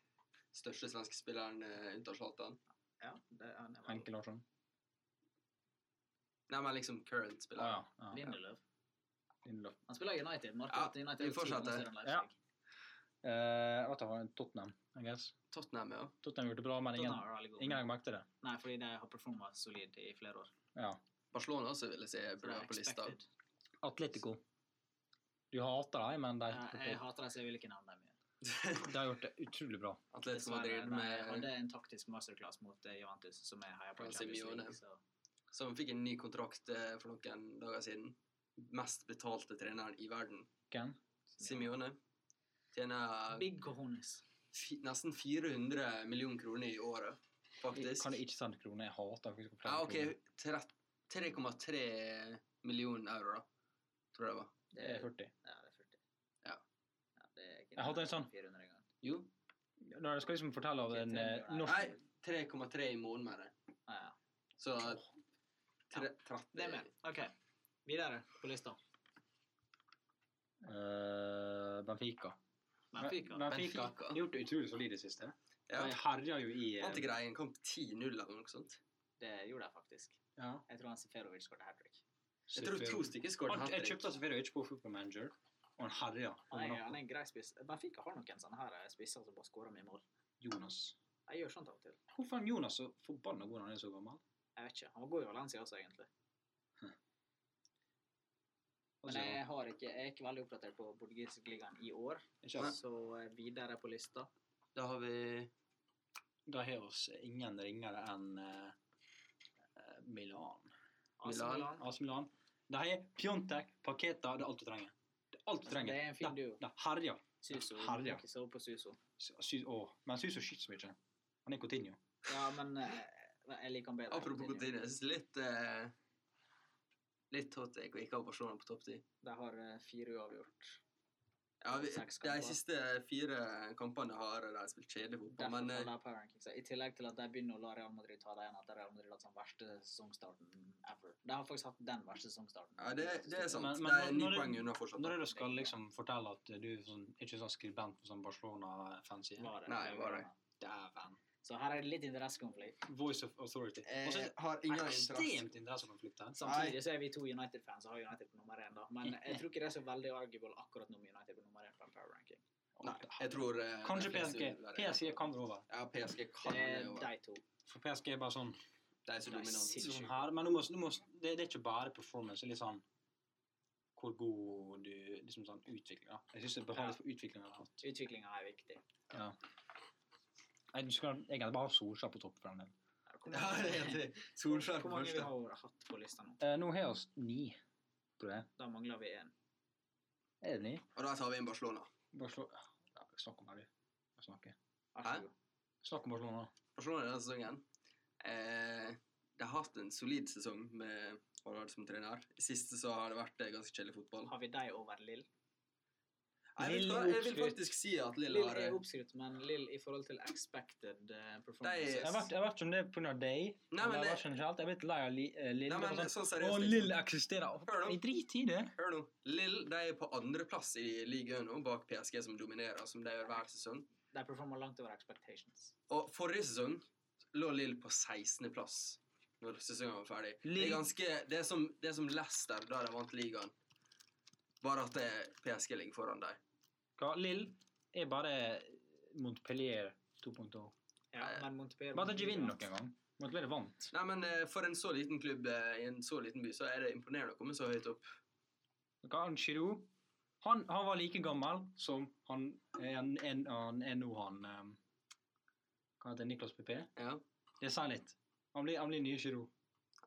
Speaker 2: største svenske spilleren eh, unntatt Zlatan.
Speaker 1: Ja, det, han er
Speaker 3: Henke Larsson.
Speaker 2: Nei, men liksom current
Speaker 3: Å
Speaker 2: spiller.
Speaker 3: Ah, ja. ja.
Speaker 1: Lindeløv.
Speaker 3: Lindelof.
Speaker 1: Han spiller i United.
Speaker 2: Ja,
Speaker 1: Markedet til United
Speaker 2: vi
Speaker 1: er jo ti
Speaker 2: fortsetter.
Speaker 1: mål større enn
Speaker 3: Ja.
Speaker 1: Leipzig.
Speaker 3: Eh, jeg vet ikke, Tottenham, I guess.
Speaker 2: Tottenham, ja.
Speaker 3: Tottenham gjorde det bra, men ingen,
Speaker 1: Tottenham er veldig god.
Speaker 3: ingen legger merke til det.
Speaker 1: Nei, fordi de har performa solid i flere år.
Speaker 3: Ja.
Speaker 2: Barcelona også vil jeg si
Speaker 1: Så det
Speaker 2: burde
Speaker 1: er
Speaker 2: være på lista.
Speaker 1: expected.
Speaker 3: Atletico. Du hater dem, men de,
Speaker 1: Jeg, Eh, jeg hater dem, så jeg vil ikke nevne dem igjen.
Speaker 3: de har gjort det utrolig bra.
Speaker 2: Atletico
Speaker 1: Dessverre.
Speaker 2: Madrid
Speaker 1: De hadde
Speaker 2: med,
Speaker 1: en taktisk masterclass mot eh, Juventus, som jeg heier på. i
Speaker 2: Fra
Speaker 1: Champions League,
Speaker 2: Simeone.
Speaker 1: så-
Speaker 2: som fikk en ny kontrakt eh, for noen dager siden. Mest betalte treneren i verden.
Speaker 3: Hvem?
Speaker 2: Simione. Tjener
Speaker 1: Big cojones.
Speaker 2: fi, nesten 400 millioner kroner i året, faktisk.
Speaker 3: Kan jeg ikke sende kroner? Jeg hater faktisk å
Speaker 2: Ja,
Speaker 3: fortelle
Speaker 2: ok. tre- 3,3 millioner euro, da. Tror jeg det var.
Speaker 1: Det
Speaker 3: kroner. Det
Speaker 1: er
Speaker 3: er 40.
Speaker 1: Ja, det er 40.
Speaker 2: Ja.
Speaker 1: det er ikke
Speaker 3: Jeg hadde en sånn-
Speaker 1: 400 engang.
Speaker 2: Jo.
Speaker 3: Ja,
Speaker 4: Når jeg skal liksom fortelle av en eh, norsk
Speaker 2: Nei, 3,3 i måneden med det.
Speaker 1: Ja, ja.
Speaker 2: Så tre, 13
Speaker 1: Det er med. OK. Videre på lista.
Speaker 3: Eh, Benfica.
Speaker 1: Benfica.
Speaker 3: Be- Benfica.
Speaker 2: Benfica.
Speaker 3: De har gjort det utrolig solid i det siste.
Speaker 2: Ja.
Speaker 3: De herja jo i eh,
Speaker 2: Vant ikke de en kamp 10-0 eller noe sånt?
Speaker 1: Det gjorde de faktisk.
Speaker 3: ja,
Speaker 1: Jeg tror han Seferovic skåret hat trick.
Speaker 2: Jeg tror
Speaker 3: Sefer-
Speaker 2: to stykker skåret
Speaker 3: Han-
Speaker 2: hat
Speaker 3: Jeg
Speaker 2: trick.
Speaker 3: kjøpte altså Seferovic på Football Manager, og han herja.
Speaker 1: Han
Speaker 3: Han
Speaker 1: er,
Speaker 3: var
Speaker 1: han er en grei spiss. Benfica har noen sånne her eh, spisser som bare skårer mye mål.
Speaker 3: Jonas.
Speaker 1: Jeg gjør sånt av og til.
Speaker 3: Hvorfor er Jonas så forbanna god når han er så gammel?
Speaker 1: Jeg vet ikke. Han var god i Valencia også, egentlig. Men
Speaker 3: Altså,
Speaker 1: jeg, har ikke, jeg er ikke veldig oppdatert på portugisisk ligaen i år.
Speaker 3: ikke sant?
Speaker 1: Så eh, videre på lista.
Speaker 2: Da har vi
Speaker 3: Da har oss ingen ringere enn eh, eh, Milan.
Speaker 1: AC
Speaker 2: Milan.
Speaker 1: Milan.
Speaker 3: AC Milan. De har Pjontek, Paketa, det er alt du trenger. Det er alt du trenger.
Speaker 1: Altså, Det er en fin duo.
Speaker 3: De herja.
Speaker 1: Suso.
Speaker 3: Herre, ja.
Speaker 1: Ikke sove på Suso.
Speaker 3: Sy- sy- å, Men Syso skyter så mye. Han er Coutinho.
Speaker 1: Ja, men eh, jeg liker han bedre.
Speaker 2: Apropos Coutinho, jeg synes litt eh, Litt hot take å ikke ha Barcelona på topp 10.
Speaker 1: De har eh, fire uavgjort.
Speaker 2: Ja, vi,
Speaker 1: Seks
Speaker 2: de
Speaker 1: kamper.
Speaker 2: siste fire kampene har de spilt kjedelig fotball,
Speaker 1: Derfor
Speaker 2: men eh,
Speaker 1: får de power rankings. I tillegg til at de begynner å la Real Madrid ta det igjen etter Real Madrid har hatt den verste sesongstarten ever. De har faktisk hatt den verste sesongstarten.
Speaker 2: ja, det, det er sant.
Speaker 3: Men- men
Speaker 2: Det er ni
Speaker 3: når- når-
Speaker 2: poeng unna fortsatt.
Speaker 3: Når er det du skal liksom fortelle at du er sånn, ikke sånn skribent på sånn Barcelona-fancy?
Speaker 1: Var det.
Speaker 2: Nei, var det.
Speaker 3: Dæven.
Speaker 1: Så her er det litt interessekonflikt.
Speaker 3: Voice of authority. Og så
Speaker 2: Jeg
Speaker 3: er
Speaker 2: Eh, har
Speaker 3: det
Speaker 2: ingen interesse.
Speaker 3: ekstremt interessekonflikt her.
Speaker 1: Samtidig så er vi to United-fans og har United på nummer én, da. Men jeg tror ikke det er så veldig arguable akkurat nå med United på nummer én på en power ranking.
Speaker 2: Nei, jeg tror eh,
Speaker 3: Kanskje
Speaker 2: de fleste
Speaker 3: PSG.
Speaker 2: vil være-
Speaker 3: PSG kan være over.
Speaker 2: Ja, PSG kan
Speaker 1: Det
Speaker 2: det
Speaker 1: er
Speaker 2: jo.
Speaker 1: de to.
Speaker 3: For PSG er bare sånn,
Speaker 2: De er
Speaker 1: de
Speaker 2: så
Speaker 1: er
Speaker 2: dominante.
Speaker 1: sinnssyke.
Speaker 3: sånn her. Men nå må, nå må, det, det er ikke bare performance. Det er litt sånn hvor god du liksom sånn utvikler. da. Jeg syns det er behagelig for utviklingen. av alt.
Speaker 1: Utviklinga er viktig.
Speaker 3: Ja. Nei, Du skal egentlig bare ha Solskjær på topp. for den delen.
Speaker 1: Hvor
Speaker 2: Ja, det er helt
Speaker 1: mange,
Speaker 2: riktig. Solskjær
Speaker 1: hvor
Speaker 2: på
Speaker 1: mange vi
Speaker 2: første.
Speaker 1: har hatt på lista nå?
Speaker 3: Eh, nå har vi ni, tror jeg.
Speaker 1: Da mangler vi én.
Speaker 3: Er det ni?
Speaker 2: Og da tar vi inn Barcelona.
Speaker 3: Bare slå ja, Snakk om det, du. Snakke.
Speaker 1: Vær så
Speaker 2: Hæ?
Speaker 1: god.
Speaker 3: Snakk om Barcelona.
Speaker 2: Barcelona denne sesongen eh, De har hatt en solid sesong med Haaland som trener. I siste så har det vært eh, ganske kjedelig fotball.
Speaker 1: Har vi deg over Lill?
Speaker 2: Jeg vil,
Speaker 3: Lill
Speaker 2: ta, jeg vil
Speaker 3: oppskrytt.
Speaker 2: faktisk si at Lill
Speaker 1: Lill
Speaker 2: har
Speaker 1: er
Speaker 2: eh,
Speaker 1: oppskrytt, men Lill i forhold til expected eh,
Speaker 2: De-
Speaker 1: performances
Speaker 3: Jeg vet, jeg vet ikke om det er pga. deg.
Speaker 2: Nei, men
Speaker 3: eller jeg
Speaker 2: det-
Speaker 3: vet ikke generelt. Jeg er blitt lei av li, eh,
Speaker 2: Nei,
Speaker 3: Lill. Det var
Speaker 2: men
Speaker 3: sånn,
Speaker 2: sånn
Speaker 3: Å,
Speaker 2: seriøst
Speaker 3: Lill
Speaker 2: liksom.
Speaker 3: eksisterer!
Speaker 2: Hør nå.
Speaker 3: Drit i det!
Speaker 2: Hør nå. Lill de er på andreplass i ligaen nå, bak PSG, som dominerer, som de gjør hver sesong.
Speaker 1: De performer langt over expectations.
Speaker 2: Og forrige sesong lå Lill på 16.-plass når sesongen var ferdig. Det
Speaker 3: Lill-
Speaker 2: er ganske Det er som, det er som Leicester da de vant ligaen, bare at eh, det PSG ligger foran dem.
Speaker 3: Hva? Lill er bare Montpellier 2.0.
Speaker 1: Ja,
Speaker 2: Nei.
Speaker 1: men Montpellier
Speaker 3: Bare at de ikke vinner noen gang. Montpellier vant.
Speaker 2: Nei, men eh, for en så liten klubb eh, i en så liten by, så er det imponerende å komme så høyt opp.
Speaker 3: Hva han Giroud? Han, han var like gammel som han er, en, en, han er nå, han um, Hva heter han? Niklas PP?
Speaker 2: Ja.
Speaker 3: Det sier litt. Han blir, han blir nye Giroud.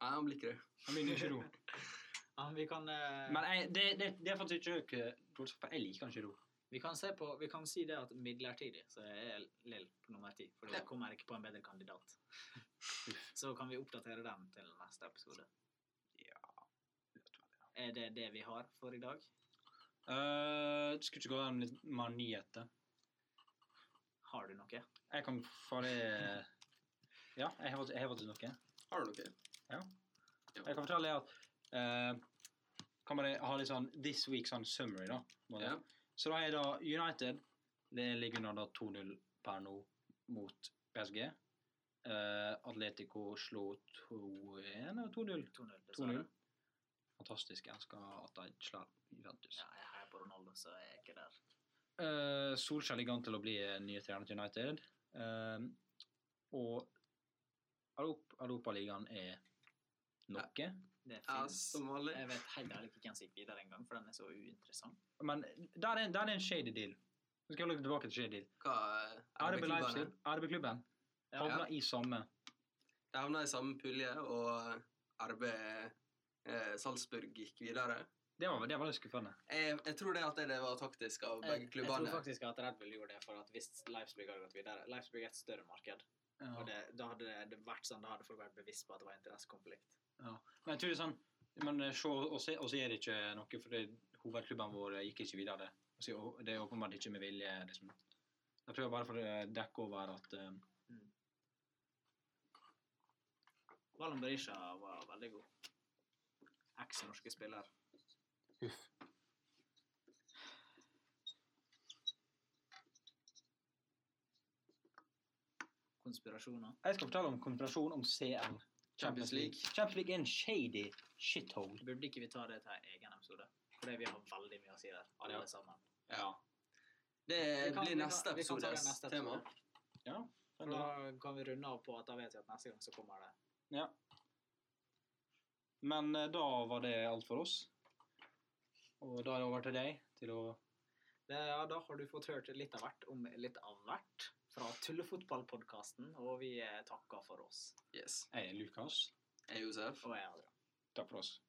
Speaker 2: Nei, han blir ikke det.
Speaker 3: Han blir nye Giroud.
Speaker 1: Ja, men vi kan, eh,
Speaker 3: Men jeg, det, det, det er faktisk ikke dårlig, for jeg liker han Giroud.
Speaker 1: vi, kan se på, vi kan si det at midlertidig så er Lill på nummer ti. For
Speaker 2: Ja.
Speaker 1: det kommer ikke på en bedre kandidat. Så kan vi oppdatere den til neste episode. Er det det vi har for i dag?
Speaker 3: Eh, det skulle ikke gå an litt mer nyheter.
Speaker 1: Har du noe?
Speaker 3: Jeg kan bare Ja, jeg har, jeg har faktisk noe.
Speaker 2: Har du noe?
Speaker 3: Jeg kan fortelle deg at eh, Kan bare ha litt sånn This week sånn summary, da. på en måte.
Speaker 2: Ja.
Speaker 3: Så da er da United Det ligger under da 2-0 per nå mot PSG. Eh, Atletico slo 2-1 eller 2-0.
Speaker 1: 2-0, dessverre.
Speaker 3: 2-0. Fantastisk. Jeg elsker at de slår Juventus.
Speaker 1: Ja, jeg heier på Ronaldo, så jeg er ikke der.
Speaker 3: Eh, Solskjær ligger an til å bli eh, nye trener til United. Eh, og Europ- Europaligaen er eh. noe.
Speaker 1: Det
Speaker 2: Ja,
Speaker 1: finnes.
Speaker 2: som vanlig.
Speaker 1: Jeg vet heller ikke hvem som gikk videre engang, for den er så uinteressant.
Speaker 3: Men der er, der er en shady deal. Nå skal jeg lage tilbake til shady deal.
Speaker 2: Hva eh,
Speaker 3: RB
Speaker 2: klubbene?
Speaker 3: Leipzig, RB-klubben,
Speaker 1: Ja.
Speaker 3: havner i samme.
Speaker 2: De havna i samme pulje, og RB eh, Salzburg gikk videre.
Speaker 3: Det var, det var litt skuffende.
Speaker 2: Jeg, jeg tror det at det var taktisk av
Speaker 1: Jeg,
Speaker 2: begge
Speaker 1: jeg tror
Speaker 2: klubbene.
Speaker 1: faktisk at Red Bull gjorde det for at hvis Leipzig hadde gått videre Leipzig er et større marked. Og det, da hadde det- det vært sånn, da hadde folk vært bevisst på at det var interessekonflikt.
Speaker 3: Men jeg tror det er sånn Men eh, se, og så og så er det ikke noe, for det, hovedklubben vår gikk ikke videre. Og så- og Det er åpenbart ikke med vilje. liksom. Jeg tror jeg bare for å dekke over at eh,
Speaker 1: Mm. Valen Berisha var veldig god. Eks-norske spiller. Konspirasjoner.
Speaker 3: Jeg skal fortelle om konspirasjon om CL.
Speaker 2: Champions League.
Speaker 3: Champions League er en shady shithole.
Speaker 1: Burde ikke vi ta det til en egen episode? Fordi vi har veldig mye å si der, alle
Speaker 3: Ja.
Speaker 1: sammen.
Speaker 2: Ja. Det
Speaker 1: Vi kan- vi
Speaker 2: blir
Speaker 1: kan-
Speaker 2: neste
Speaker 1: vi kan ta det
Speaker 2: episodes
Speaker 1: neste
Speaker 2: tema.
Speaker 1: episode. For Da kan vi runde av på at da vet vi at neste gang så kommer det.
Speaker 3: Ja. Men eh, da var det alt for oss. Og da er det over til deg til å
Speaker 1: det ja, da har du fått hørt litt av hvert om litt av hvert fra Tullefotballpodkasten, og vi eh, takker for oss.
Speaker 2: Yes.
Speaker 3: Jeg er Lukas.
Speaker 2: Jeg er Josef.
Speaker 1: Og jeg, Adrian.
Speaker 3: Takk for oss.